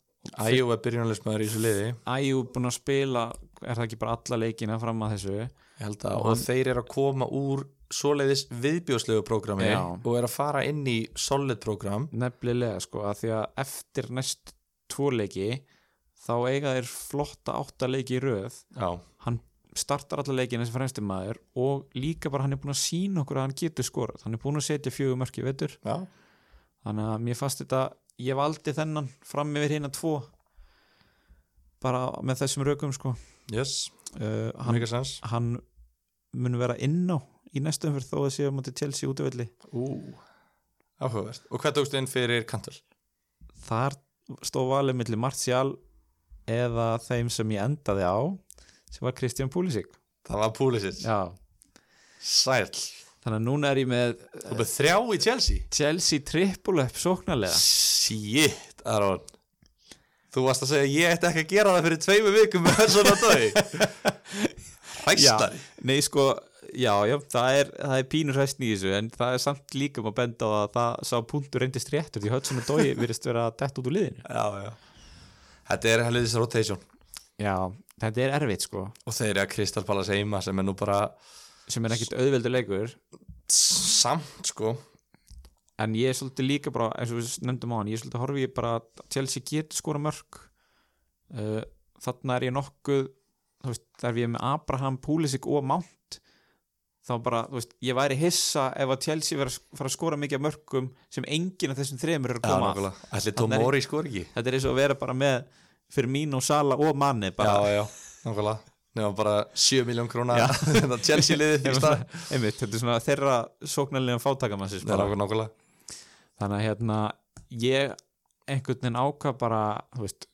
Æjú er byrjunarleismæður í þessu liði
IU búin að spila er það ekki bara alla leikina fram að þessu
Ég held að
Og
Og
hann-
þeir eru að koma úr svoleiðis viðbjóðslegu prógrami
Já.
Og eru að fara inn í solid prógram
nefnilega sko að því að eftir næst tvo leiki þá eiga þeir flotta átta leiki í röð
Já
hann startar alla leikina sem fremstum maður og líka bara hann er búin að sína okkur að hann getur skorað, hann er búin að setja fjögur mörk í vetur,
Já
þannig að mér fannst þetta ég valdi þennan fram yfir hérna tvo bara með þessum rökum sko
Yes,
uh, hann,
mjög sens
hann mun vera inn á í næstu umferð þó að sé að múti Chelsea útvöldi
Ú Áhugavert Og hvað tókstu inn fyrir Kantul?
þar stóð valið milli Martial eða þeim sem ég endaði á sem var Christian Pulisic
Það var Púlisins
Já.
Sæl
þannig að núna er ég með
Þú beð þrjá í Chelsea
Chelsea triple upp sóknarlega
Shit, Aron Þú varst að segja ég ætti ekki að gera það fyrir tveimu vikum með svona [laughs] dög Hæstari
Nei sko, já, já, það er, það er pínur hæstni í þessu en það er samt líka maður benda á að það sá punktur reyndist réttur því Hudson og Dói virðist vera dett út úr liðinu
Já, já Þetta er helviðis rotation
Já, þetta er erfitt sko
og þeir eru að Crystal Palace heima sem er nú bara
sem er ekkit auðveldur leikur
samt sko
en ég er svolítið líka bara, eins og við nefndum á hann ég er svolítið horfi ég bara að Chelsea getur skora mörg uh, þarna er ég nokkuð þú veist, þar við ég er með Abraham, Pulisic og Mount þá bara, þú veist, ég væri hissa ef að Chelsea verið að fara að skora mikið af mörgum sem enginn af þessum þremur er að koma af
Ætli Tomori skor ekki
þetta er eins og að vera bara með fyrir mín og Sala og manni bara,
já nákvæmlega Nefnum bara 7 miljón króna [laughs]
Já.
Þetta Chelsea
[laughs]
liðið í [laughs] stað
einmitt, þetta er svona þeirra sóknarlega fátakamannsins
Nei, nákvæmlega, nákvæmlega
þannig að hérna ég einhvern veginn ákvað bara þú veist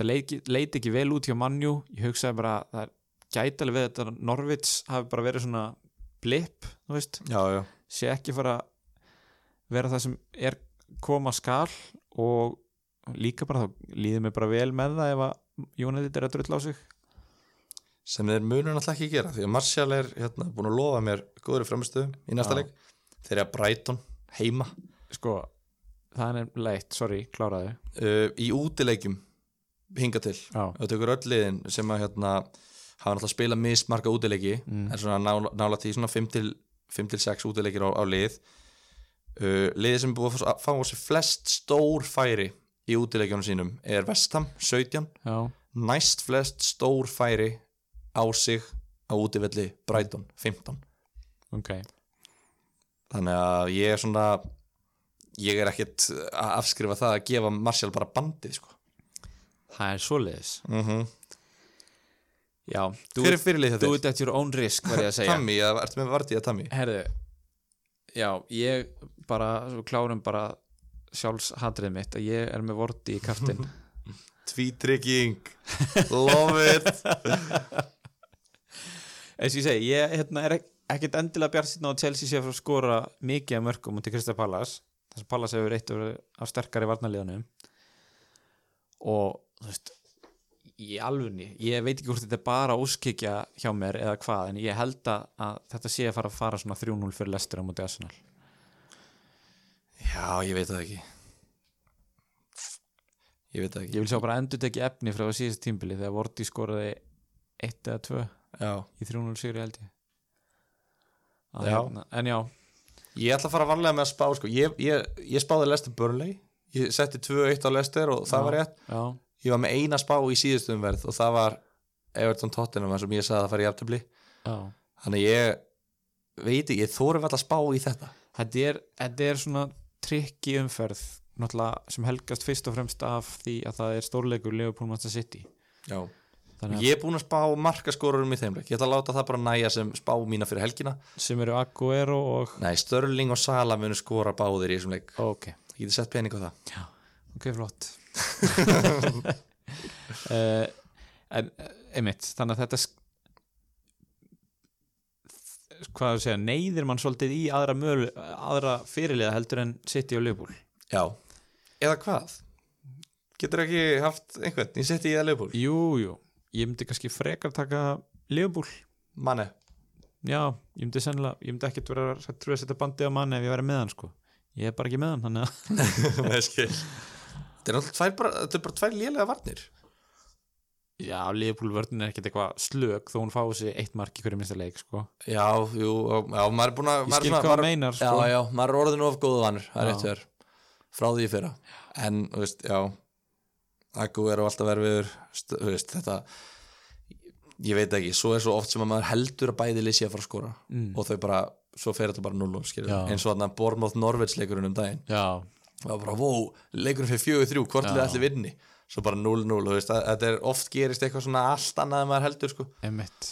það leit, leit ekki vel út hjá mannjú ég hugsaði bara að það gæti alveg við þetta að Norvits hafi bara verið svona blip, þú veist,
Já, já,
sé ekki fara að vera það sem er koma skal og líka bara þá líður mér bara vel með það ef að Jónadit er að drulla á sig
sem þeir munur náttúrulega ekki gera því að Martial er hérna, búin að lofa mér góður framistu í næsta
Já.
leik þeir eru að Brighton heima
sko, það er nefnilega eitt, sorry, kláraði
uh, í útileikjum hinga til
Já.
og tökur öll liðin sem að hérna, hafa náttúrulega spilað mismarka útileiki
Mm.
en svona nála, nála því svona 5-6 útileikir á, á lið uh, liðið sem er búið að fá- fá á sig flest stór færi í útileikjunum sínum er Vestham 17
já,
næst flest stór færi á sig á útivelli Brighton 15
ok
þannig að ég er svona ég er ekkert að afskrifa það að gefa Martial bara bandið sko.
það er svoleiðis
mm -hmm.
já, Mhm. þú
hver er fyrirlið
Do
þetta?
it at your own risk var ég að segja
Tammy, eða ertu með Vardí að Tammy?
Herðu Já, ég bara svo klárum bara sjálfshatrið mitt að ég er með vorti í kaftin
Tvítrygging, love it
eins og ég segi, ég hérna, er ek- ekkert endilega bjart síðan á að Chelsea sé að fara að skora mikið af mörgum út í Krista Pallas þess að Pallas hefur eitt af sterkari varnarliðanum og þú veist í alvunni, ég veit ekki hvort þetta er bara óskikja hjá mér eða hvað en ég held að að þetta sé að fara að fara svona 3-0 fyrir lestur á móti Arsenal
já, ég veit það ekki ég veit það
Ég
ekki
vil sjá bara endur tekið efni frá síðast tímbili þegar Vorti skoraði eitt eða tvö
já.
í 3-0 sigri held ég Að
Já.
Hérna, en já,
ég ætla að fara varlega með að spá sko. ég, ég, ég spáði Lester Burnley ég setti 2-1 á Lester og það
Já.
var rétt
já,
ég var með eina spá í síðustum verð og það var Everton Tottenham sem ég sagði að það fara í aftabli
já
Þannig að ég veit ekki, ég þórum alltaf að spá í þetta
þetta er, þetta er svona trikki umferð náttúrulega sem helgast fyrst og fremst af því að það er stórleikur Liverpool Manchester City
Já.
þannig að
Ég er búin að spá markaskorurum í þeim leik Ég ætla að láta það bara næja sem spá mína fyrir helgina
sem eru Aguero og
Nei, Störling og Sala munu skora báðir í þessum leik
ok,
Ég geti sett pening á það
já, ok [laughs] flott uh, en eh, einmitt, þannig að þetta sk- hvað þú segja, neyðir mann svolítið í aðra, mölu, aðra fyrirliða heldur en City og Liverpool
Já Eða hvað? Getur ekki haft einhvern? Ég setti í það leifbúl
Jú, jú, ég myndi kannski frekar taka Liverpool,
[laughs] Manni
já, ég myndi sennilega ég myndi ekkert vera að trúið að setja bandið á mann ef ég væri með hann sko, ég er bara ekki með hann þannig að, [laughs]
Þetta er náttúrulega tvær bara, þetta er bara tvær lélega varnir
já, Liverpool vörðin er ekkert eitthvað slök þó hún fái sig eitt mark í hverju minnsta leik sko,
Já, jú, já, maður er búin að
ég
maður er
skil
svona-
hvað
maður-
hann meinar sko,
Já, já, maður er orðin of góðu vanur Það er
Já.
rétt verið frá því í fyrra En, þú veist, já Akku er á alltaf verfiður st- Þú veist, þetta Ég veit ekki, svo er svo oft sem að maður heldur að bæði lýsi að fara að skora
Mm.
Og þau bara, svo fer þetta bara 0 skilur
Já.
Eins og þarna Bormóð Norveits leikurinn um daginn
já.
Það var bara, vó, leikurinn fyrir 4-3 Hvort
Já.
liðið allir vinni Svo bara 0-0, þú veist, að- þetta er oft gerist eitthvað svona allt annað en maður heldur, sko
Einmitt.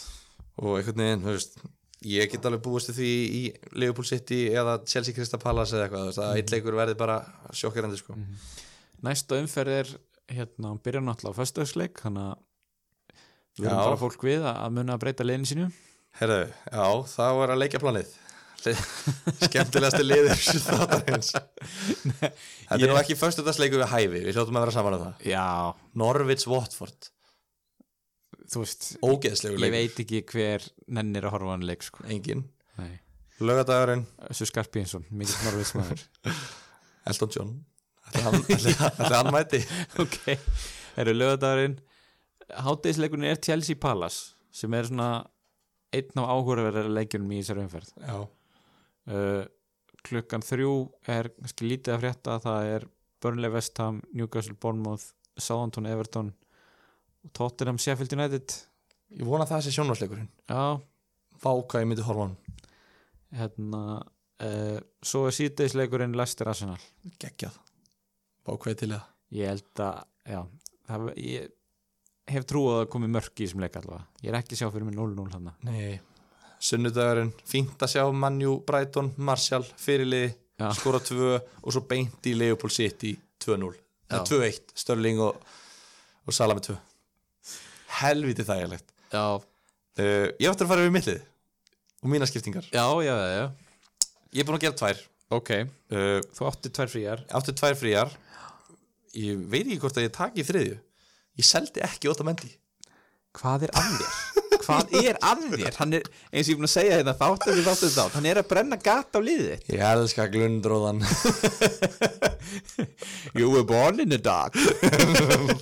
og einhvern veginn, þú veist ég get alveg búist við því í Liverpool City eða Chelsea Crystal Palace eða eitthvað þú veist, að
Mhm.
eitt leikur verði bara sjokkerandi sko.
Næsta umferð er hérna, hann byrjar náttúrulega á föstudagsleik þannig að við erum
Já.
bara fólk við að- að muna að breyta leiðinu sínu
Herðu, já, þá er að leikja planið [laughs] skemmtilegasti liður þáttarins
[laughs]
Þetta er nú
Ég-
ekki föstudagsleikur við hæfi, við hljóttum að vera saman um það
Já,
Norvids Watford,
þú veist
ógeðslegu
ég
leikur
veit ekki hver nennir að horfa á hann leik sko.
engin,
Nei.
lögadagurinn
Össur Skarpínsson, mikill norðvitsmaður
Elton John Þetta
[laughs]
hann, ætli- ætli hann mæti
Ok, eru lögadagurinn Hátegisleikunni er Chelsea Palace sem er svona einn af áhugaverðar leikjunum í þessari umferð
Já,
uh, klukkan þrjú er kannski lítið að frétta það er Burnley West Ham, Newcastle Bournemouth Southampton Everton og Tottenham Sheffield United
ég vona að það sé sjónvarsleikurinn
já,
Vá hvað ég myndi horfa á hann
hérna uh, svo er síðdeisleikurinn Leicester Arsenal
geggjað Vá hvað ég til í það
ég held að já, það, ég hef trú á að það komi mörk í þessum leik allavega ég er ekki að sjá fyrir mig 0-0 hann
Nei Sunnudagurinn, fínt að sjá Manjú, Brighton, Martial, fyrirliði
Já.
skora 2 og svo beint í Leopold City 2-0 eða 2-1, Störling og, og Sala með 2 Helviti þægilegt
já,
uh, Ég ætti að fara yfir mittlið og mína skiptingar
já, já, já, já
Ég er búin að gera tvær
ok,
uh,
þú átti tvær fríjar
Áttu tvær fríjar Ég veit ekki hvort að ég taki þriðju Ég seldi ekki óta mendi
hvað er að [laughs] þér? hvað er að þér? hann er, eins og ég er búin að segja hérna, þetta þáttu þér, þáttu þér, hann er að brenna gata á liðið
Ég elska [laughs] glundróðan
you were born in the dark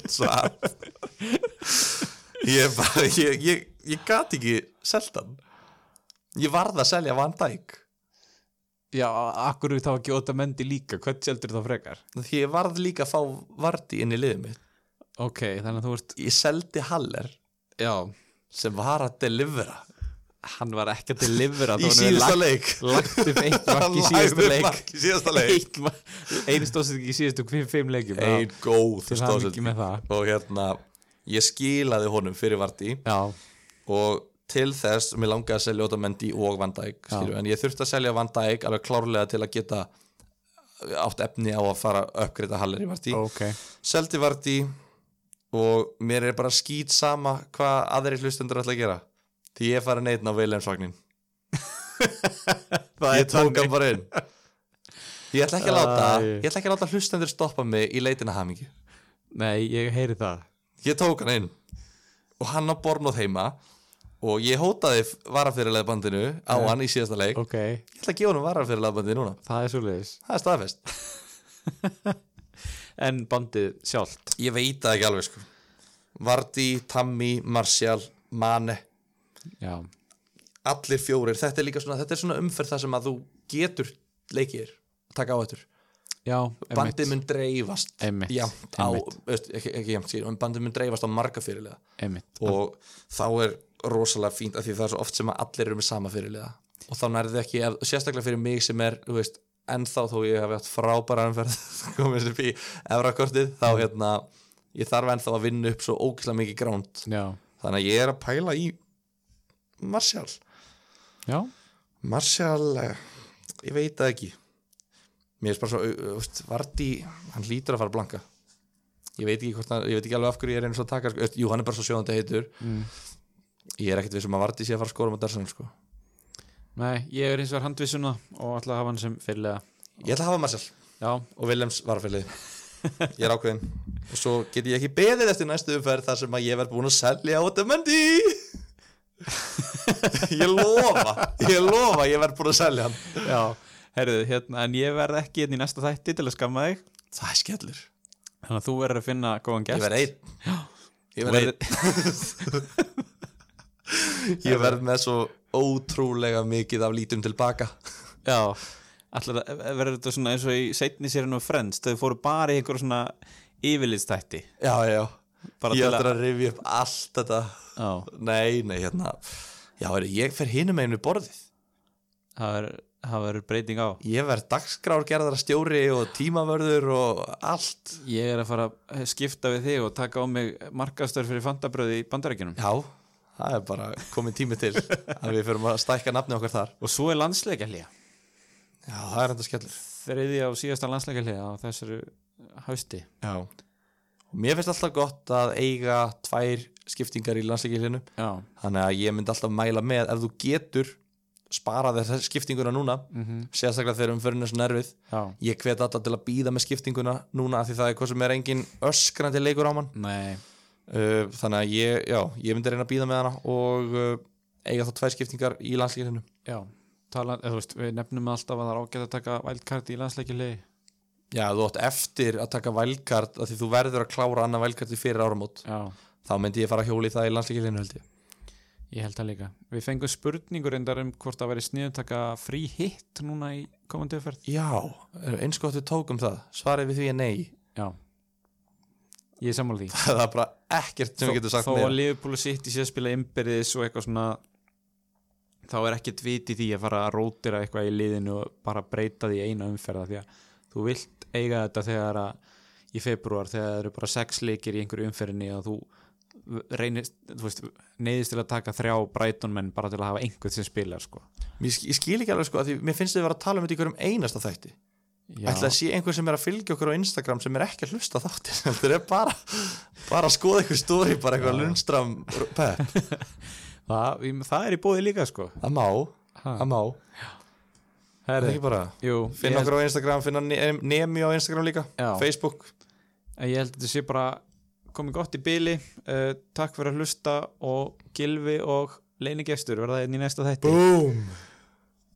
Svart Ég bara, ég, ég, ég gat ekki selta hann Ég varð að selja Van Dijk
já, akkur við þá ekki óta mendi líka hvern seldur þá frekar?
Því ég varð líka að fá Vardi inn í liðið mitt
ok, þannig að þú ert,
Ég seldi Haller
já
sem var að delivera
hann var ekki að delivera
Í síðasta leik
lagt upp eitt [laughs]
[laughs]
mark í
Hann
síðasta
lagði
leik
mark í Síðasta leik
Eitt ma- einu stóðsending í síðustu fimm, fimm leikjum [laughs] já.
Ein góð
til hann ekki
stóðsending.
með það
Og hérna, ég skilaði honum fyrir Vardi
já,
og til þess, mér langaði að selja Óta Mendi og Van Dijk, skilju, en ég þurfti að selja Van Dijk alveg klárlega til að geta eh, átt efni á að fara að uppgreita Haller í Vardí,
ok
seldi Vardí og mér er bara skýt sama hvað aðri hlustendur ætla að gera því ég er farið neitt á Vilhelmsvagnin
það
ég tók hann bara inn ég ætla ekki að láta,
Æ.
ég ætla ekki að láta hlustendur stoppa mig í leitina hamingi
nei, ég heyri það
ég tók hann inn og hann á Bormóð heima og ég hótaði varafyrirlega bandinu á hann í síðasta leik
ok,
Ég ætla að gefa honum varar fyrir lagbandi núna
það er svo leiðis
Það er staðfest
en bandið sjálft
Ég veit það ekki alveg sko Vardí, Tammy, Martial, Mane
já,
Allir fjórir Þetta er líka svona, þetta er svona umferð þar sem að þú getur leikir Taka á þetta
já
Bandið mun dreifast
Einmitt,
Jafnt á,
einmitt.
veist, ekki, ekki jafnt skýr en Bandið mun dreifast á marga fyrirlega
einmitt
Og þá er rosalega fínt af Því það er svo oft sem að allir eru með sama fyrirlega Og þá nærði ekki, ef- sérstaklega fyrir mig sem er Þú veist, ennþá þó ég hef haft frábæra umferð [laughs] Komið upp í efrakortið Þá hérna, ég þarf ennþá að vinna upp Svo ógislega mikið gránt
já,
Þannig að ég er að pæla í Martial
já,
Martial, eh, ég veit það ekki Mér er bara svo, eh, þú veist, Vardí Hann hlýtur að fara að blanka Ég veit ekki hvort hann, ég veit ekki alveg af hverju ég er eins og að taka sko. Jú, hann er bara svo sjóðandi heitur
Mm.
Ég er ekkert við sem að Vardí sé að fara að skora með Darsan sko.
nei, ég er hins vegar handvissuna og ætla að hafa hann sem fyrirlega
Ég ætla að hafa Martial
já,
og Willems varafélagi Ég er ákveðin Og svo get ég ekki beðið eftir næstu umferð Þar sem að ég verð búin að selja Otamendi [laughs] Ég lofa Ég lofa, ég verð búin að selja hann
já, herruðu, hérna en ég verð ekki hérna í næsta þætti til að skamma þig
Það er skellur
þannig að þú verður að finna góðan
Ég
gest
verð einn Ég
Þú
verð
verður-
einn Ég verð með svo ótrúlega mikið af lítum tilbaka
Já, allar verður þetta svona eins og í seinni sérinu Friends, þau fóru bara í einhverjum svona yfirlitstætti
Já, já
Bara
Ég
til
ætla að rifja upp allt þetta
Já,
Nei, nei, hérna Já, heyrðu, ég fer hinum einu borðið
það verður- það verður breyting á
Ég verð dagskrárgerðara stjóri og tímavörður og allt
Ég er að fara að skipta við þig og taka á mig markastör fyrir fantabröði í bandarækjunum
Já, það er bara komið tími [laughs] til að við förum að stækka nafni okkar þar
Og svo er landsleikjallega
Já, það er enda skellur
Þriðja og síðasta landsleikjallega á þessari hausti
Já Og mér finnst alltaf gott að eiga tvær skiptingar í landsleikilinu
Já,
Þannig að ég myndi alltaf mæla með ef þú getur spara þér skiptinguna núna
Mhm.
sérstaklega þegar umförinu er svo nervið
já,
Ég hvet alltaf til að býða með skiptinguna núna af því það er hvað sem er engin öskrandi leikur á mann
nei
uh, Þannig að ég, já, ég myndi reyna að býða með hana og uh, eiga þá tvær skiptingar í landsleikilinu
Já, tala, eða, þú veist, við nefnum alltaf að það er ágætt að taka vældkarti í landsleikjalegi
Já, þú átt eftir að taka vælkart af því þú verður að klára annað vælkart í fyrir áramót
Já,
þá myndi ég fara að hjóla í það í landsleikilinu held ég
Ég held það líka. Við fengum spurningur reyndar um hvort það væri sniðum taka frí hitt núna í komandi umferð.
Já, eins gott við tókum það svarið við því er nei [laughs]
Já. Ég er sammála því.
það er bara ekkert sem við getum sagt
Þó að
meira
Liverpool sitt í sér spila innbyrðis og eitthvað svona þá er ekkert vit í því að fara að rótira eitthvað í liðinu og bara breyta því í eina umferða því að þú vilt eiga þetta þegar að í februar þegar það eru bara sex leikir í einhverju umferðinni og þú reynist, þú veist, neyðist til að taka þrjá Brighton-menn bara til að hafa einhvern sem spilar sko.
Mér sk- ég skil ekki alveg sko að því mér finnst þið vera að tala um þetta í hverjum einasta þætti
Já,
ætla að sé einhver sem er að fylgja okkur á Instagram sem er ekki að hlusta á þáttir [laughs] þetta er bara, bara að skoða einhver stóri bara eitthvað lundstram pep,
það, ég- það er í bóði líka sko.
að má
Ha.
að má, það er ekki bara
Jú,
finna
ég held-
okkur á Instagram, finna Ne- Nemi á Instagram líka
Já.
Facebook,
En ég held að þetta sé bara komið gott í byli uh, takk fyrir að hlusta og gilvi og leinigestur verða einn í næsta þætti
boom